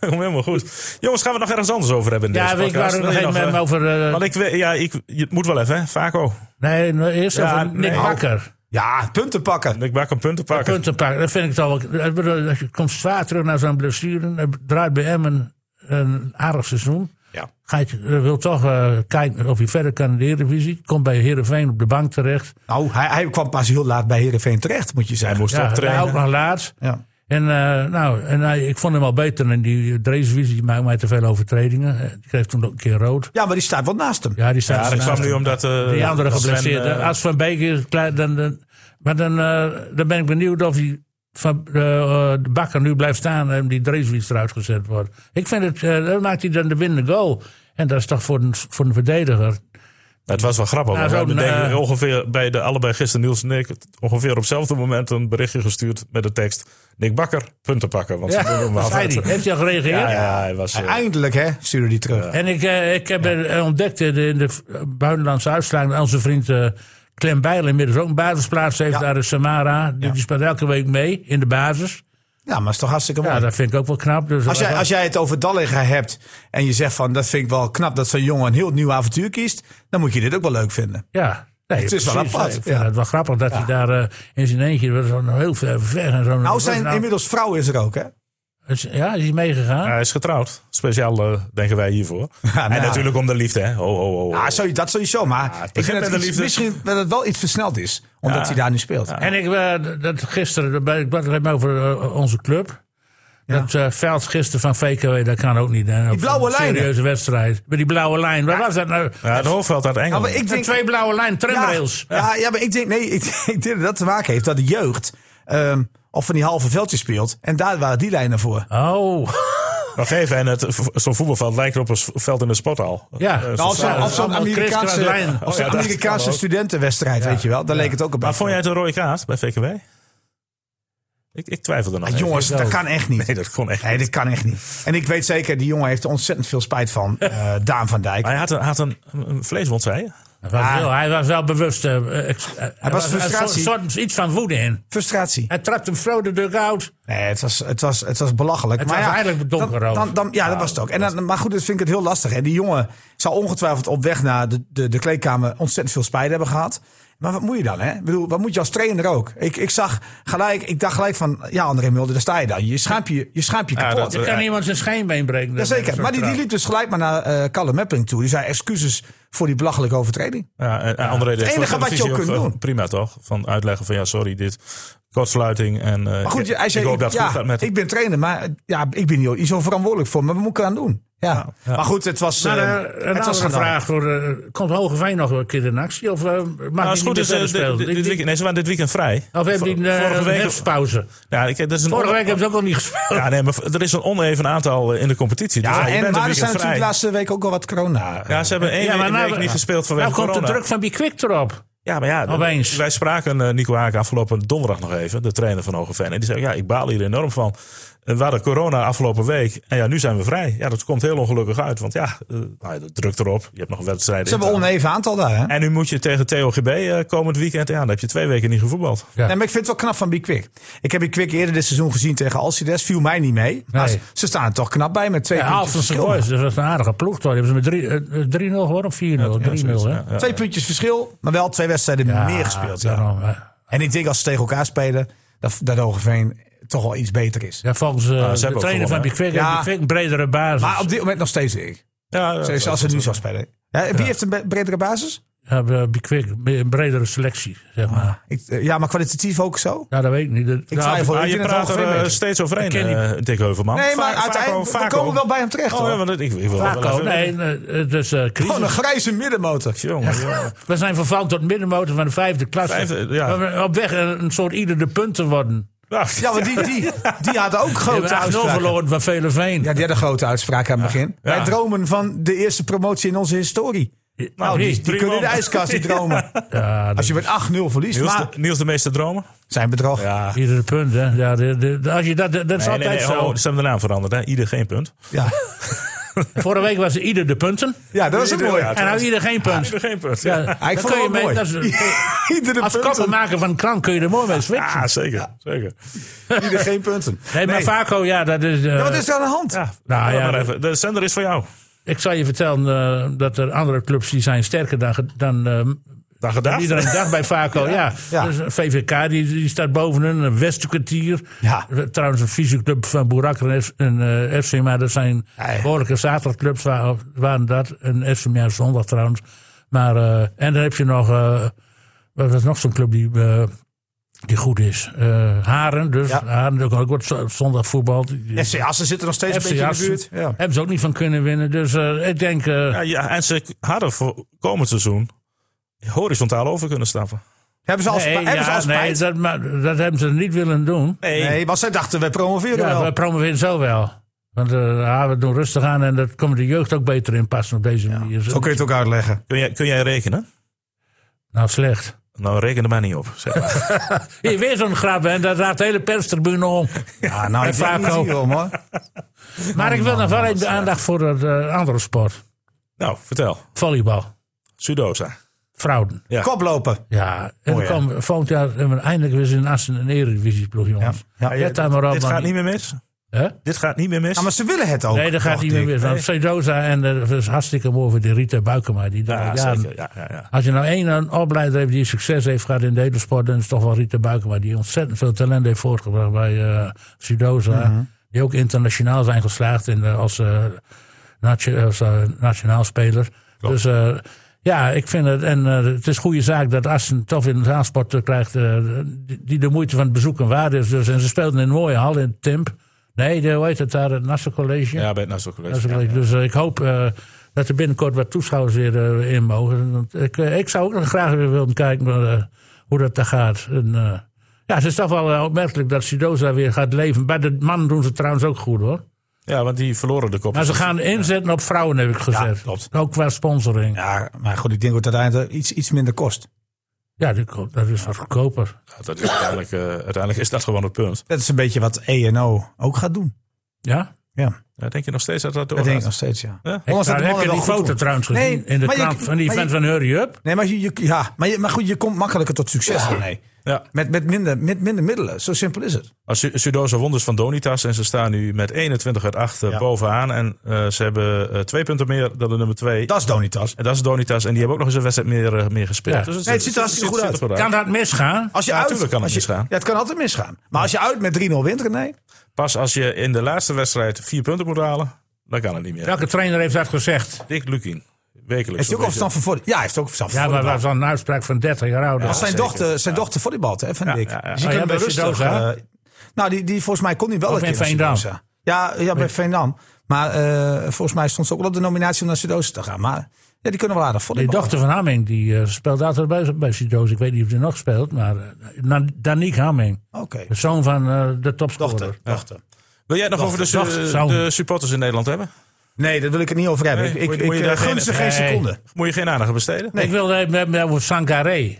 Kom <laughs> helemaal goed. Jongens, gaan we het nog ergens anders over hebben in Ja, deze weet je podcast? waar we nog Wil je even eh, over. eh, Want ik, we- ja, ik, je- het moet wel even, hè? Vaco. nee, nou, eerst Ja, over Nick nee. Bakker. Ja, punten pakken. Ik maak een punten pakken. Punten pakken. Dat vind ik toch wel. ik bedoel, Je komt zwaar terug naar zo'n blessure. Hij draait bij Emmen een aardig seizoen. Ja. Gaat, eh, wil toch eh, kijken of hij verder kan in de Eredivisie. Komt bij Heerenveen op de bank terecht. Nou, hij, hij kwam pas heel laat bij Heerenveen terecht, moet je zeggen. moest Ja, hij ook nog laat. Ja. En, eh, nou, en hij, ik vond hem al beter dan die Dreesvisie. Die maakte mij te veel overtredingen. Eh, Die kreeg toen ook een keer rood. ja, maar die staat wel naast hem. Ja, die staat Ja, dat ernaast. kwam nu omdat... eh, Die andere Sven, geblesseerd. eh, Als Van Beek is, klaar, dan, dan, maar dan, eh, dan ben ik benieuwd of die van, eh, eh, de bakker nu blijft staan en die Dreeswiets eruit gezet wordt. Ik vind het, eh, dan maakt hij dan de winnende goal. En dat is toch voor een, voor een <laughs> verdediger. Het was wel grappig. Nou, want we zo'n, hebben denk ik eh, ongeveer bij de allebei gisteren Niels en ik ongeveer op hetzelfde moment een berichtje gestuurd met de tekst Nick Bakker punten pakken. Want ze doen hem Wat zei altijd. die? Heeft hij al gereageerd? Ja, ja, hij was. eh, Eindelijk, hè, stuurde die terug. En ik, eh, ik heb eh, ontdekt eh, de- in de v- buitenlandse uitslagen dat onze vriend eh, Clem Bijl inmiddels ook een basisplaats heeft Ja. daar in Samara. Die, die speelt elke week mee in de basis. Ja, maar is toch hartstikke mooi. Ja, dat vind ik ook wel knap. Dus Als jij, als jij het over Dallinga hebt en je zegt van dat vind ik wel knap dat zo'n jongen een heel nieuw avontuur kiest, dan moet je dit ook wel leuk vinden. Nou Ja. Nee, Het is wel precies. apart, Nee, Ik vind ja. het wel grappig dat hij daar eh, in zijn eentje was zo'n heel ver weg. En zo'n- Nou, zijn nou, inmiddels vrouw is er ook, hè? is- Ja, is hij meegegaan? hij is getrouwd. Speciaal eh, denken wij hiervoor. En nou. natuurlijk om de liefde, hè? Ho, ho, ho. Ah, zo, dat sowieso, maar het ik begint vind met het de iets- liefde. misschien dat het wel iets versneld is, omdat hij daar nu speelt. En ik, eh, dat gisteren, dat- ik had het even over eh, onze club. Dat eh, veld gisteren van VKW, dat kan ook niet. Hè. Op blauwe zo'n lijnen. serieuze wedstrijd. Met die blauwe lijn. Wat was dat nou? ja, het hoofdveld uit Engeland. Nou, maar ik De denk, twee blauwe lijn, tramrails. Ja, ja, ja, maar ik denk, nee, ik, <laughs> ik denk dat dat te maken heeft dat de jeugd ehm, of van die halve veldjes speelt. En daar waren die lijnen voor. Oh, Nog even, en het, zo'n voetbalveld lijkt op een s- veld in een sporthal. ja. Eh, zo Nou, of staat zo'n het. of zo'n Allemaal Amerikaanse, kriskras lijn. of zo'n Oh ja, dat Amerikaanse kan ook. studentenwedstrijd, weet je wel. Daar leek het ook op. maar vond jij het een rode kaart bij VKW? Ik, ik twijfel er nog. Ah, even. jongens, dat kan echt niet. Nee, dat kon echt Nee, niet. dat kan echt niet. En ik weet zeker, die jongen heeft er ontzettend veel spijt <laughs> van. eh, Daan van Dijk. Maar Hij had een, had een, een vleeswond, zei je? Hij was wel- hij was wel bewust. eh, eh, ex- eh, hij was er frustratie. soort- soort iets van woede in. Frustratie. Hij trapt hem vrouw de deur uit. Nee, het was, het was, het was belachelijk. Het maar was ja, eigenlijk donker dan, ook. dan, dan- Ja, dat was het ook. En dan, maar goed, dat vind ik het heel lastig. En die jongen zal ongetwijfeld op weg naar de, de, de kleedkamer ontzettend veel spijt hebben gehad. Maar wat moet je dan, hè? Ik bedoel, wat moet je als trainer ook? Ik, ik zag gelijk, ik dacht gelijk van, ja, André Mulder, daar sta je dan. Je schaamt je, je, schaamt je Ja, kapot. dat- Er kan eh, iemand zijn scheenbeen breken. Jazeker. Zo'n Maar die, die trap. liep dus gelijk maar naar eh Callum Mepping toe. Die zei excuses voor die belachelijke overtreding. Ja, en- en André deed enige voor de wat je televisie ook kunt eh, doen. Prima toch? Van uitleggen van ja, sorry, dit kortsluiting. En, eh, Maar goed, ik- hij zei, ik hoop dat het ja, goed gaat met ik ben trainer, maar eh, ja, ik ben hier niet zo verantwoordelijk voor. Maar we moeten aan doen. Ja. Maar goed, het was, Maar, eh, eh, een het was andere gedaan. vraag. Voor, eh, komt Hogeveen nog een keer in actie? Of eh, mag Nou, hij is niet goed, meer is, eh, verder dit, spelen? dit- dit Die- die- weekend, nee, ze waren dit weekend vrij. Of hebben die een eh, vorige week- herfstpauze? Ja, ik, dat is een Vorige on- week hebben ze ook al niet gespeeld. Ja, nee, maar er is een oneven aantal eh, in de competitie. Dus Ja, je Ah, en, bent een maar er weekend zijn natuurlijk de vrij. laatste week ook al wat corona. Ja, ze hebben één Ja, maar week- nou- week niet gespeeld vanwege Nou komt de corona. druk van die kwik erop. Ja, maar ja, Opeens. wij spraken eh, Nico Haak afgelopen donderdag nog even, de trainer van Hogeveen. En die zei, ja, ik baal hier enorm van. Eh, We hadden corona afgelopen week en ja, nu zijn we vrij. Ja, dat komt heel ongelukkig uit, want ja, eh, nou, ja, de druk erop. Je hebt nog wedstrijden. Ze in te hebben een oneven aantal daar. Hè? En nu moet je tegen TOGB eh, komend weekend. Ja, dan heb je twee weken niet gevoetbald. Ja. Nee, maar ik vind het wel knap van Bikwik. Ik heb Bikwik eerder dit seizoen gezien tegen Alcides. Viel mij niet mee. Maar Nee. ze, ze staan er toch knap bij met twee Ja, puntjes Alphense verschil. Boys, dat was een aardige ploeg. Toch? Die hebben ze met drie- eh, eh, 3-0 geworden of 4-0? 3-0, hè? Ja, ja. Twee puntjes verschil, maar wel twee wedstrijden Ja, meer gespeeld. Ja. daarom, hè. En ik denk als ze tegen elkaar spelen, dat, dat Hogeveen toch wel iets beter is. Ja, volgens eh, Ah, hebben de ook trainer van gewonnen, Big hè? Quick Ja. heeft Big Quick een bredere basis. Maar op dit moment nog steeds ik. Ja, eh, ja, Zoals ja. als ze nu zo spelen. Ja, wie heeft een be- bredere basis? Ja, bij eh, Big Quick een bredere selectie, zeg maar. Ik, eh, ja, maar kwalitatief ook zo? Ja, dat weet ik niet. Dat- Ik nou, twijfel. Maar ik je vind het praat Hogeveen er eh, beter. steeds overheen, ken die- eh Dick Heuvelman. Nee, maar Vaak- vaak uiteindelijk ook- we vaak komen ook. wel bij hem terecht. Oh, hoor. ja, want ik, ik wil wel Vaak ook. even- Nee, eh, het is eh, crisis. Gewoon een grijze middenmotor. Jongen, jongen. We zijn vervallen tot middenmotor van de vijfde klasse. Vijfde, ja. Waar we op weg een een soort ieder de punten worden. Ja, Ja, want die, die, <laughs> die had ook We grote hebben 8-0 uitspraken. verloren van Veleveen. Ja, die had een grote uitspraak aan het begin. Wij Ja. dromen van de eerste promotie in onze historie. Nou, die- die, die drie kunnen in de man. <laughs> ijskast die dromen. Als je met 8-0 verliest, Niels, maar de, Niels de meeste dromen? zijn bedrag. Ja, Ja. Ieder de punt, hè. Ja, de, de- de- als je dat, dat is Nee, nee, altijd nee, zo. oh, ze hebben de naam veranderd. Hè? Ieder geen punt. ja. Vorige week was er ieder de punten. dat was het Ieder- mooi. ja, En nou ieder geen punt. Ieder geen punt. Ja, Ja, dan vond het kun je wel mee- mooi. dat <laughs> is- Iedere Als punten. koppenmaker van een krant kun je er mooi mee switchen. Ah, zeker. zeker. Ieder geen punten. <laughs> Nee, maar Vaco, ja, dat is... eh, Ja, wat is er aan de hand? Ja, Nou, nou, ja, ja, maar dat- even. De zender is voor jou. Ik zal je vertellen eh, dat er andere clubs die zijn sterker dan, ge- dan eh, Dag en dag. Iedere dag bij Vaco, ja. ja. Dus VVK die, die staat bovenin, een Westenkwartier. Ja. Trouwens, een fysioclub van Boerak en, F- en eh, FC, maar dat zijn Ja, ja. behoorlijke zaterdagclubs wa- waren dat. En FC meer zondag trouwens. Maar, eh, en dan heb je nog, eh, wat was nog zo'n club die, eh, die goed is? Eh, Haren, dus. Ja. Haren ook, ook wat z- zondag voetbal. Die- FC Assen zitten nog steeds een FC beetje Assen. in de buurt. Ja. Hebben ze ook niet van kunnen winnen. Dus eh, ik denk, eh, Ja, ja, en ze hadden voor komend seizoen horizontaal over kunnen stappen. Hebben ze al, nee, spa- hebben ze ja, al nee spijt? dat, maar, dat hebben ze niet willen doen. Nee, nee, want zij dachten, wij promoveren Ja, wel. we promoveren zo wel. Want eh, ja, we doen rustig aan en dat komt de jeugd ook beter in passen op deze manier. Zo kun je het ook uitleggen. kun, jij, kun jij rekenen? Nou, slecht. Nou, reken er maar niet op. Zeg maar. Hier, weer zo'n grap, en dat raakt de hele perstribune om. Ja, nou, ik Vaco. vraag het niet om, hoor. Maar ik wil nog wel even de aandacht voor het eh, andere sport. nou, vertel. Volleybal. Sudosa. Fraude. Ja. Koplopen. Ja, en Mooi, dan kwam volgend jaar hebben we eindelijk weer eens in Assen een eredivisieploeg, jongens. Ja. Ja, ja, Let daar maar op, Dit man. gaat niet meer mis. Hè? Dit gaat niet meer mis. Ja, maar ze willen het ook. Nee, dat gaat toch, niet meer Dick? mis. Want Sedoza en eh, dat is hartstikke mooi voor de Rita Buikema. Die daar ja, jaren- zeker. Ja, ja, ja. Als je nou één een opleider hebt die succes heeft gehad in de hele sport, dan is het toch wel Rita Buikema. Die ontzettend veel talent heeft voortgebracht bij eh Sudoza. Die ook internationaal zijn geslaagd in de, als, eh, natio- als, eh, nationaal speler. Dus eh, ja, ik vind het. En eh, het is goede zaak dat Assen toch in de zaansport eh, krijgt. eh, die, die de moeite van het bezoek en waarde is. Dus, en ze speelden in een mooie hal in Timp. Nee, de, hoe heet het daar? Het Nassau College. Ja, bij het nou Nassau College. Dat is een beetje- Dus eh, ik hoop eh, dat er binnenkort wat toeschouwers weer eh, in mogen. Want ik, eh, ik zou ook nog graag weer willen kijken eh, hoe dat daar gaat. En, eh, ja, het is toch wel eh, opmerkelijk dat Sidoza weer gaat leven. Bij de mannen doen ze trouwens ook goed hoor. Ja, want die verloren de kop. Maar ze gaan inzetten op vrouwen, heb ik gezegd. Ja, klopt. Ook qua sponsoring. Ja, Ja, maar goed, ik denk dat het uiteindelijk iets, iets minder kost. die ko- dat is wat goedkoper. Ja, dat is uiteindelijk, eh, uiteindelijk is dat gewoon het punt. Dat is een beetje wat E&O ook gaat doen. Ja? Ja, Ja, denk je nog steeds dat dat dat doorgaat? denk ik nog steeds, ja. Ja? Ondanks Daar dat de heb mannen je wel die goed foto doen. trouwens gezien Nee, in de maar je- krant van die maar je- vent van Hurry Up. Nee, maar, je, je- ja, maar, je, maar goed, je komt makkelijker tot succes daarmee. Ja. Met, met, minder, met minder middelen, zo simpel is het. Als Su- Sudoza won dus van Donitas en ze staan nu met 21 uit 8 eh, bovenaan. En eh, ze hebben eh, twee punten meer dan de nummer 2. Dat is Donitas. En dat is Donitas. En die hebben ook nog eens een wedstrijd meer, eh, meer gespeeld. Ja. het, Nee, het ziet er hartstikke goed ziet er Kan dat misgaan? Als je Ja, uit, tuurlijk kan het als je- misgaan. Ja, het kan altijd misgaan. Maar als je uit met 3-0 wint, nee. Pas als je in de laatste wedstrijd vier punten moet halen, dan kan het niet meer. Welke trainer heeft dat gezegd? Dick Lukien. Wekelijks. Heeft hij ook al verstand van volley- Ja, hij heeft ook verstand van Ja, maar volleybal. dat was al een uitspraak van 30 jaar oud. Als zijn zeker. dochter, zijn dochter volleybalt, hè, van Ja, Dick. ja, ja. Dus je Oh, kunt ja, hem bij rustig, Sudosa? eh, nou, die, die, volgens mij kon hij wel Of een in keer naar Veendam? Sudosa. Ja, ja, bij Veendam. Maar eh, volgens mij stond ze ook wel op de nominatie om naar Sudosa te gaan. Maar ja, die kunnen wel aardig Die volleyballen. dochter van Hamming die eh, speelt altijd bij, bij Sido's. Ik weet niet of die nog speelt, maar eh, Na- Danique Hamming. Oké, De zoon van eh, de topscorer. dochter. dochter. Wil jij het nog over de, su- Dag, zoon. de supporters in Nederland hebben? Nee, daar wil ik het niet over hebben. Nee, ik ik, moet je- ik, moet je eh, daar gun geen- ze geen nee. seconde. Moet je geen aandacht aan besteden? Ik wilde even hebben over Sangaré.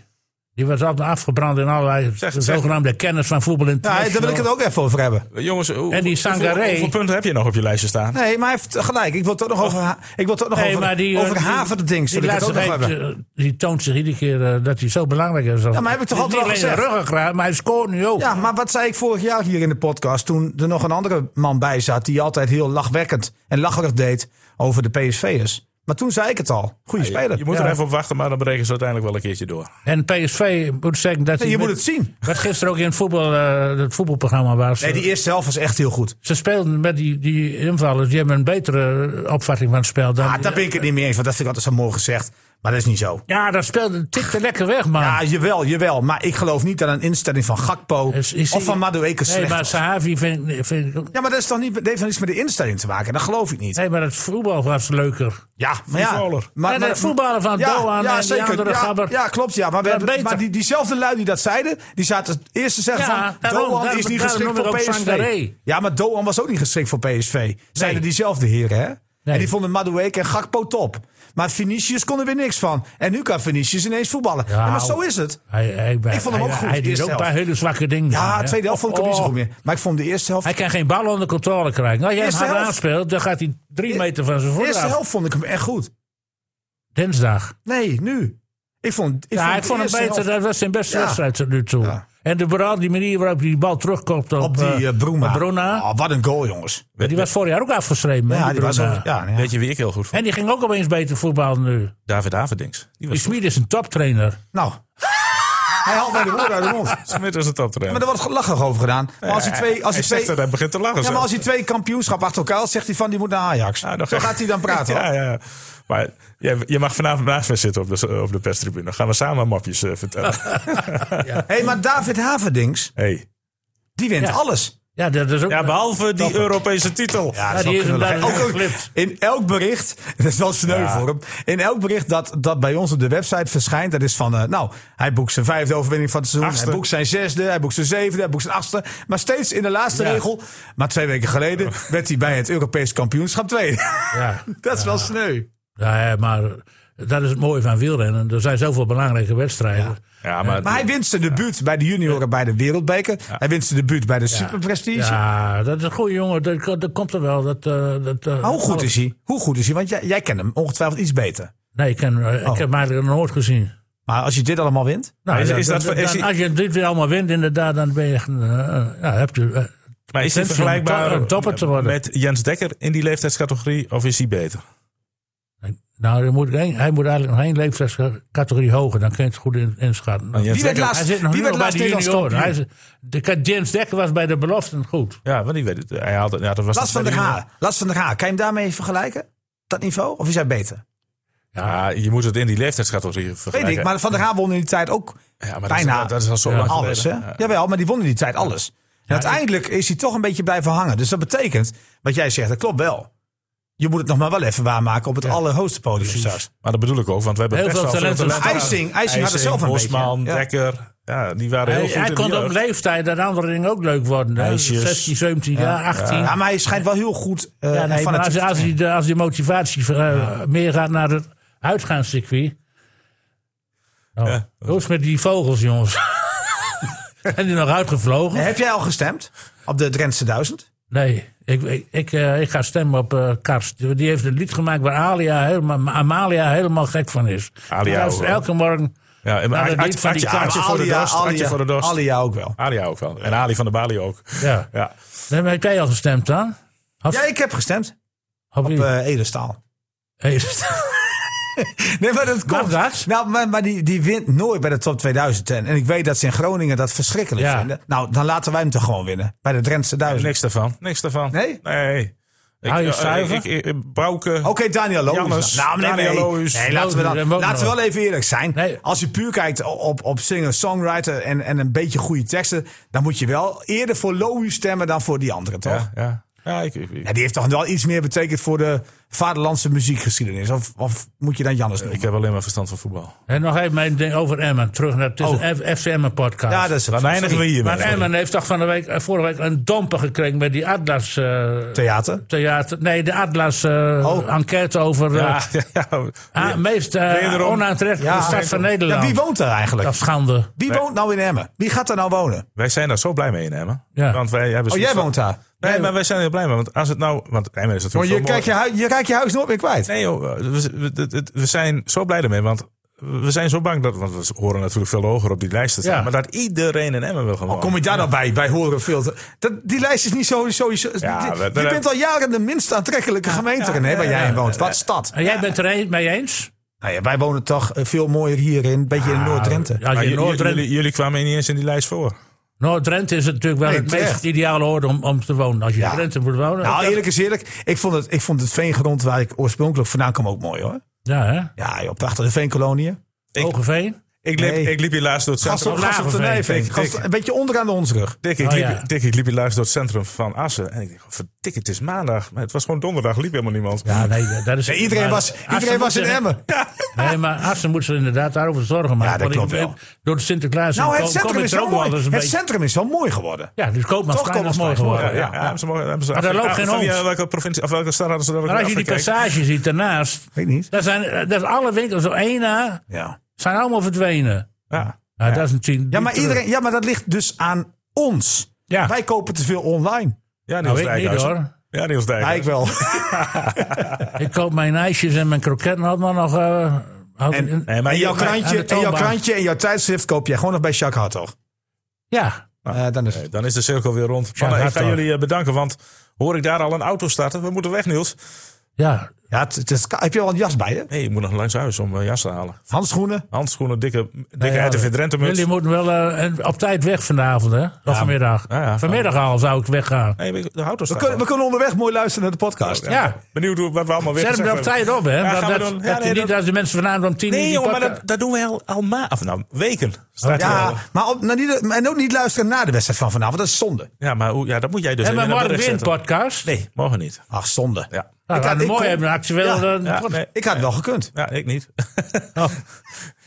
Die was altijd afgebrand in allerlei Zeg- zeg- zogenaamde kennis van voetbal in Ja, daar wil ik het ook even over hebben. Eh, Jongens, hoe, En die hoeveel, Sangaré- hoeveel punten heb je nog op je lijstje staan? Nee, maar hij heeft gelijk. Ik wil toch Oh. nog over, ha- ik wil toch nog over, over eh, Haven ding. Die, wil ik het ook nog laatste hebben. week, eh, die toont zich iedere keer eh, dat hij zo belangrijk is. Ja, maar heb ik toch altijd al Niet alleen gezegd? de ruggengraat, maar hij scoort nu ook. Ja, maar wat zei ik vorig jaar hier in de podcast toen er nog een andere man bij zat die altijd heel lachwekkend en lacherig deed over de PSV'ers. Maar toen zei ik het al. Goede speler. Ah, Je moet Ja. er even op wachten, maar dan breken ze uiteindelijk wel een keertje door. En PSV moet zeggen dat Nee, hij je met- moet het zien. Wat gisteren ook in het, voetbal, eh, het voetbalprogramma was. eh, Nee, die eerste helft was echt heel goed. Ze speelden met die, die invallers. Die hebben een betere eh, opvatting van het spel dan. Ah, daar ben ik het niet mee eens, want dat vind ik altijd zo mooi gezegd. Maar dat is niet zo. Ja, dat speelde tikte lekker weg, man. Ja, Ja, jawel, jawel. Maar ik geloof niet aan een instelling van Gakpo of van Madueke Nee, slecht maar was. Sahavi vind, vind ik ook. Ja, maar dat, is toch niet, dat heeft toch niets met de instelling te maken? Dat geloof ik niet. Nee, maar het voetbal was leuker. Ja, maar ja. voetballer. En het voetballen van Ah, Doan en die andere ja, gabber. Ja, klopt. Ja. Maar, we hebben- beter. maar die, diezelfde lui die dat zeiden, die zaten eerst te zeggen Ja, van... daarom, Doan daarom- is niet daarom geschikt noem ik voor ook PSV. Sangaré. Ja, maar Doan was ook niet geschikt voor PSV. Zeiden diezelfde heren, hè? En die vonden Madueke en Gakpo top. Maar Vinicius kon er weer niks van. En nu kan Vinicius ineens voetballen. Ja, maar zo is het. Hij, hij, ik vond hem ook goed, Hij de deed eerste ook een paar helft. hele zwakke dingen. Ja, hè. tweede helft vond ik hem niet zo Oh, goed meer. Maar ik vond de eerste helft... Hij kan geen bal onder controle krijgen. Als jij hem Eerste hard helft. aanspeelt, dan gaat hij drie meter van zijn De voet eerste af. helft vond ik hem echt goed. Dinsdag. Nee, nu. Ik vond, ik Ja, vond ik de vond hem eerste beter. helft- Dat was zijn beste Ja. wedstrijd tot nu toe. Ja. En de vooral die manier waarop hij die bal terugkomt op, Op die eh, eh, Bruna. op Bruna. Oh, wat een goal, jongens. die was vorig jaar ook afgeschreven. hè, Ja, die was Bruna. ook- ja, ja. Weet je wie ik heel goed vond? En die ging ook opeens beter voetballen nu. David Averdings. Die Die was Smit is een toptrainer. Nou, hij haalt mij de woorden uit de mond. Smit is het dat Maar er wordt lachen over gedaan. Maar als hij twee... Als hij hij twee zegt dat hij begint te lachen. ja, maar zelf. als hij twee kampioenschappen achter elkaar had, zegt hij van die moet naar Ajax. Ah, Zo ga- gaat hij dan praten. hoor. <laughs> ja, ja. Maar jij- je mag vanavond naast mij zitten op de, op de perstribune. Dan gaan we samen mapjes eh, <laughs> vertellen. hey, maar David Haverdings, Hey. die wint Ja. alles. Ja, dat is ook. Ja, behalve die Europese titel. Ja, Ja, die is hem daar Ook- ook- geklipt. in elk bericht, <laughs> dat is wel sneu voor hem. In elk bericht dat, dat bij ons op de website verschijnt, dat is van, eh, nou, hij boekt zijn vijfde overwinning van het seizoen. Achtste. Hij boekt zijn zesde, hij boekt zijn zevende, hij boekt zijn achtste. Maar steeds in de laatste regel, maar twee weken geleden, werd hij bij het Europees kampioenschap tweede. Ja. <laughs> dat is wel sneu. Ja, hè, maar dat is het mooie van wielrennen. Er zijn zoveel belangrijke wedstrijden. Ja, maar, Maar hij wint zijn debuut bij de junioren bij de wereldbeker. Hij wint zijn debuut bij de superprestige. Ja, dat is een goede jongen. Dat, dat komt er wel. Dat, eh, dat, eh, Maar hoe goed is hij? Hoe goed is hij? Want jij, jij kent hem ongetwijfeld iets beter. Nee, ik, ken, eh, Oh. Nou, ik heb hem eigenlijk nog nooit gezien. Maar als je dit allemaal wint, Nou, Maar is- ja, is dan- dat- dan- is hij- als je dit weer allemaal wint, inderdaad, dan ben je. eh, eh, ja, heb je eh, maar is hij Mensen om vergelijkbaar to- om topper te worden. met Jens Dekker in die leeftijdscategorie? Of is hij beter? nou, hij moet, één- hij moet eigenlijk nog één leeftijdscategorie hoger. Dan kun je het goed in- inschatten. Jens Wie werd Dekker- laatst- hij zit nog wie nu werd nog bij laatst de Nederlands junioren. Hij kampioen? is- de, James Dekker was bij de beloften goed. Ja, want die weet het. Hij haalde, ja, dat was Last van de der Haar. Last van der Haar. Kan je hem daarmee vergelijken? Dat niveau? Of is hij beter? Ja, je moet het in die leeftijdscategorie Weet vergelijken. ik. Maar Van der Haar won in die tijd ook ja, maar bijna Dat is, dat is al zo lang alles. Hè? geleden. Ja. Jawel, maar die won in die tijd alles. En uiteindelijk is hij toch een beetje blijven hangen. Dus dat betekent, wat jij zegt, dat klopt wel. Je moet het nog maar wel even waarmaken op het allerhoogste podium straks. Maar dat bedoel ik ook, want we hebben Heel best veel wel talenten. IJsing, IJsing had het zelf een Bosman, beetje, hè? Ja. Dekker. Ja, die waren heel Hij, goed hij in kon de op jeugd. leeftijd dat andere dingen ook leuk worden. hè. Meisjes. 16, 17 jaar, 18. Ja, maar hij schijnt wel heel goed eh Ja, nee, van maar het als, als, die, de- als die motivatie eh, meer gaat naar het uitgaanscircuit. Oh, Ja. Hoe is het met die vogels, jongens? <laughs> Zijn die nog uitgevlogen? Heb jij al gestemd op de Drentse 1000? Nee, ik, ik, ik, eh, ik ga stemmen op eh, Karst. Die heeft een lied gemaakt waar Alia helemaal, Amalia helemaal gek van is. Alia Die luistert ook wel. elke morgen. Ja, en Nou, Aad- dat Aad- niet van die Aadje- Aadje kamer. voor de dorst. Aadje voor de dorst. Alia ook wel. Aria ook wel. En Ali van de Bali ook. Ja. Ja. Nee, maar heb jij al gestemd dan? Of, Ja, ik heb gestemd of op wie? eh Edelstaal. Hey, Nee, maar dat Mag komt. dat? Nou, maar, maar die, die wint nooit bij de top 2000. En, en ik weet dat ze in Groningen dat verschrikkelijk Ja. vinden. Nou, dan laten wij hem toch gewoon winnen. Bij de Drentse 1000. Niks daarvan. Niks daarvan. Nee? Nee. Ik, Hou je eh, zuiver? ik- ik- ik- Bouke. Oké, Daniel Loos. Jannes, nou, nee, nee. Daniel Loos. Nee, laten we, Loos, dan, dat mag laten we nog. wel even eerlijk zijn. Nee. Als je puur kijkt op, op singer, songwriter en, en een beetje goede teksten. dan moet je wel eerder voor Loos stemmen dan voor die andere, toch? Ja, ja. Ja, ik, ik, Ja, die heeft toch wel iets meer betekend voor de vaderlandse muziekgeschiedenis? Of, of moet je dan Jannes noemen? ik heb alleen maar verstand van voetbal. <laughs> en nog even mijn ding over Emmen. Terug naar het is Oh. een F- FC Emmen podcast. ja, dat is Dan eindigen we hiermee. Maar Emmen heeft toch van de week, eh, vorige week een domper gekregen met die Atlas eh, theater. theater. Nee, de Atlas eh, Oh. enquête over eh, Ja, ja, ja. ah, meest eh, Wederom. onaantrekkelijke Ja, stad van Nederland. Ja, wie woont daar eigenlijk? Dat is schande. Wie woont nou in Emmen? Wie gaat daar nou wonen? Wij zijn daar zo blij mee in Emmen. Ja. Want wij hebben Oh, zoiets jij van- woont daar. Nee, maar wij zijn er heel blij mee. Want als het nou... Want Emmen is Want natuurlijk je, zo mooi. kijkt je, hui- je raakt je huis nooit meer kwijt. Nee joh, we, we- we- we zijn zo blij ermee. Want we zijn zo bang dat... Want we horen natuurlijk veel hoger op die lijst te staan. Ja. Maar dat iedereen in Emmen wil gewoon. Oh, Kom je daar nou bij? Wij horen veel. te- Dat, die lijst is niet zo. sowieso. Ja, die- we- je we- bent al jaren de minst aantrekkelijke gemeente René, waar jij in woont. Wat stad. En jij bent er een- mee eens? Nou ja, wij wonen toch eh, veel mooier hierin. Een beetje in Noord-Drenthe. Maar Ja, je Ah, j- j- Noord-Drenthe jullie, jullie kwamen niet eens in die lijst voor. Noord-Drenthe Nou, is natuurlijk wel Nee, het terecht. meest ideale oord om, om te wonen. Als je Ja. in Drenthe moet wonen. Nou, eerlijk is eerlijk. Ik vond, het, ik vond het veengrond waar ik oorspronkelijk vandaan kwam ook mooi hoor. ja, hè? Ja, joh, prachtige veenkoloniën. Hogeveen. Ik liep, Nee. ik liep hier laatst door het Gast centrum. op, gast op de Lagerveen, Nijveen. denk ik. Gast- Een beetje onderaan de Hondsrug. Dick, ik, Oh, liep, ja. Dick, ik liep hier laatst door het centrum van Assen. En ik dacht, verdik, het is maandag. Maar het was gewoon donderdag, liep helemaal niemand. Ja, nee, dat is, Nee, iedereen maar was, Assen iedereen moet was in zich- Emmen. Nee, maar Assen moet ze inderdaad daarover zorgen maken. Ja, dat Want ik- klopt wel. Door de Sinterklaas Nou, het kom- kom centrum ik is er wel ook wel mooi. eens een Het beetje... centrum is wel mooi geworden. Ja, dus Koopmansplein is mooi Koopmansplein. geworden. Ja, ja, ja, ja. hebben ze mooi- hebben ze Maar daar Afri- loopt geen van die, hond. eh, welke provincie, of welke stad hadden ze daar ook Maar als je in die Afrika? passage ziet daarnaast, Weet niet. daar zijn, eh, dat alle winkels op één na, Ja. zijn allemaal verdwenen. Ja. Nou, Dat is natuurlijk Ja, maar niet iedereen, ja, maar dat ligt dus aan ons. Ja. Wij kopen te veel online. Ja, Niels terug. Nou, ik niet Dijkhuizen. hoor. Ja, Niels Ja, Dijkhuizen. ik <laughs> wel. Ik koop mijn ijsjes en mijn kroketten allemaal nog... eh, had ik in- En, Nee, maar en jouw hier- aan de krantje, en jouw toonbank. krantje en jouw tijdschrift koop jij gewoon nog bij Jacques Hartog. Ja, Eh, dan is het. Nee, Dan is de cirkel weer rond. Mannen, gaat ik ga wel. jullie eh, bedanken, want hoor ik daar al een auto starten? We moeten weg, Niels. ja. Ja, het, het is- heb je al een jas bij je? Nee, ik moet nog langs huis om mijn jas te halen. Handschoenen? Handschoenen, dikke, dikke ja, ja, RTV Drenthe muts. Jullie moeten wel eh, en op tijd weg vanavond, hè? Of vanmiddag. Ja, ja. vanmiddag al zou ik weggaan. Nee, maar de auto We staat kunnen, we al. kunnen onderweg mooi luisteren naar de podcast. Ja. Benieuwd hoe- wat we allemaal weer Zet hem gezegd er op hebben. tijd op, hè? Ja, dat gaan we dat, doen. Ja, dat nee, je dat- niet als de mensen vanavond om tien uur... Nee, die jongen, maar podcast- dat, dat doen we al, al ma of nou, weken. Staat er al. Ja, maar op, nou, niet, en ook niet luisteren naar de wedstrijd van vanavond. Dat is zonde. ja, maar hoe- ja, dat moet jij dus En even maar in het morgen bericht weer een zetten. podcast. Nee, morgen niet. Ach, zonde. Ja, Nou, Ik had- ik ik mooi kon- hebben, een actueel... Ja, eh, ja, pod- nee, Ik had het wel gekund. ja ik niet. Oh.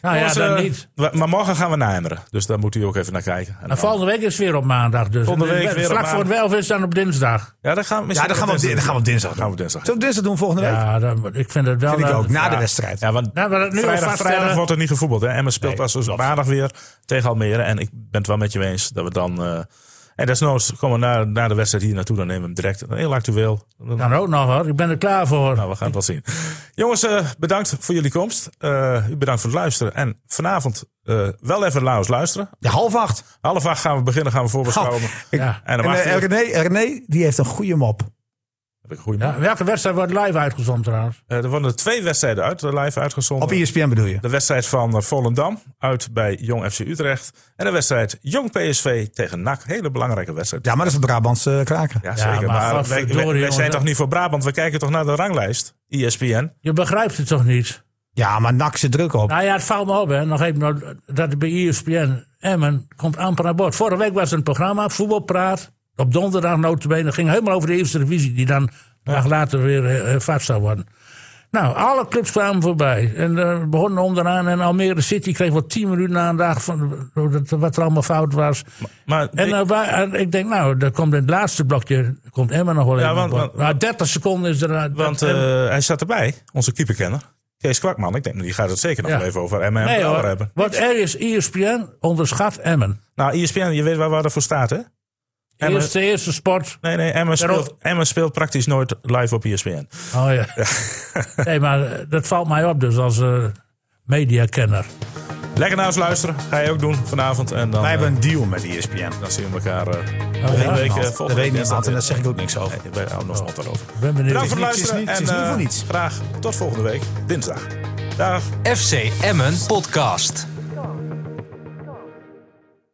Nou ja, Jongens, dan eh, niet. we- Maar morgen gaan we naar Emeren. Dus daar moet u ook even naar kijken. En En dan- volgende week is het weer op maandag dus. Volgende week weer op Vlak voor het maandag. welf is dan op dinsdag. Ja, dan gaan we Ja, misschien dan gaan we op, di- dan gaan we op dinsdag gaan we doen. op dinsdag. Zullen we op dinsdag doen volgende week? Ja, dan, ik vind het wel... Vind ik dan- ook, na de Ja. wedstrijd. Ja, want Nou, maar dat nu al vrijdag, vaststellen- vrijdag wordt er niet gevoetbald. Hè? Emmen speelt pas dus maandag weer tegen Almere. En ik ben het wel met je eens dat we dan... eh en desnoods komen we na, na de wedstrijd hier naartoe. Dan nemen we hem direct. Heel actueel. Dan- Dan ook nog hoor, ik ben er klaar voor. Nou, we gaan het wel zien. Jongens, eh, bedankt voor jullie komst. Eh, u bedankt voor het luisteren. En vanavond eh, wel even naar ons luisteren. Ja, half acht. Half acht gaan we beginnen, gaan we voorbeschouwen. Oh, ik- Ja. En En om acht eh, uur heb René, René, die heeft een goede mop. ik een goede Ja, man. welke wedstrijd wordt live uitgezonden trouwens? Eh, er worden twee wedstrijden uit, eh, live uitgezonden. Op E ESPN bedoel je? De wedstrijd van eh, Volendam uit bij Jong FC Utrecht. En de wedstrijd Jong PSV tegen NAC. Hele belangrijke wedstrijd. Ja, maar dat is een Brabantse eh, kraker. Ja, Ja, zeker. maar maar wij, godverdorie, wij- wij zijn jongens. toch niet voor Brabant? We kijken toch naar de ranglijst? E ESPN. Je begrijpt het toch niet? Ja, maar nak zit druk op. Nou ja, het valt me op, hè. Nog even nog- dat het bij E ESPN Emmen komt amper aan boord. Vorige week was er een programma, Voetbalpraat. Op donderdag notabene. ging helemaal over de eerste divisie. Die dan een dag later weer eh, eh, vast zou worden. Nou, alle clubs kwamen voorbij. En eh, we begonnen onderaan. En Almere City kreeg wel tien minuten aandacht. Van, eh, dat- wat er allemaal fout was. Maar En nou, waar- en ik denk, nou, dan komt in het laatste blokje. Komt Emma nog wel even. want- aan boord. want- nou, 30 seconden is er. Want dat- eh, hij zat erbij, onze keeperkenner. Kees Kwakman, ik denk, die gaat het zeker nog Ja. wel even over Emmen en nee Brouwer hoor. hebben. Want er is E ESPN onderschat Emmen. Nou, ESPN, je weet waar, waar dat voor staat, hè? Emmen- Eerste, eerste sport. nee, nee, Emmen speelt, Daarop. Emmen speelt praktisch nooit live op E ESPN. Oh ja. nee, maar eh, dat valt mij op dus als eh, mediakenner. Lekker naar ons luisteren, ga je ook doen vanavond. En dan, Wij hebben Oh, eh, een deal met E ESPN. dan zien we elkaar eh ja. volgende week. eh, Dat volgende week weet niemand en daar dinsdag zeg weer. ik ook niks over. Nee, we houden ons altijd over. Ik ben benieuwd. Bedankt voor het niet- het is luisteren. niet- en het is niet eh, voor niets. Graag tot volgende week, dinsdag. Dag. FC Emmen Podcast.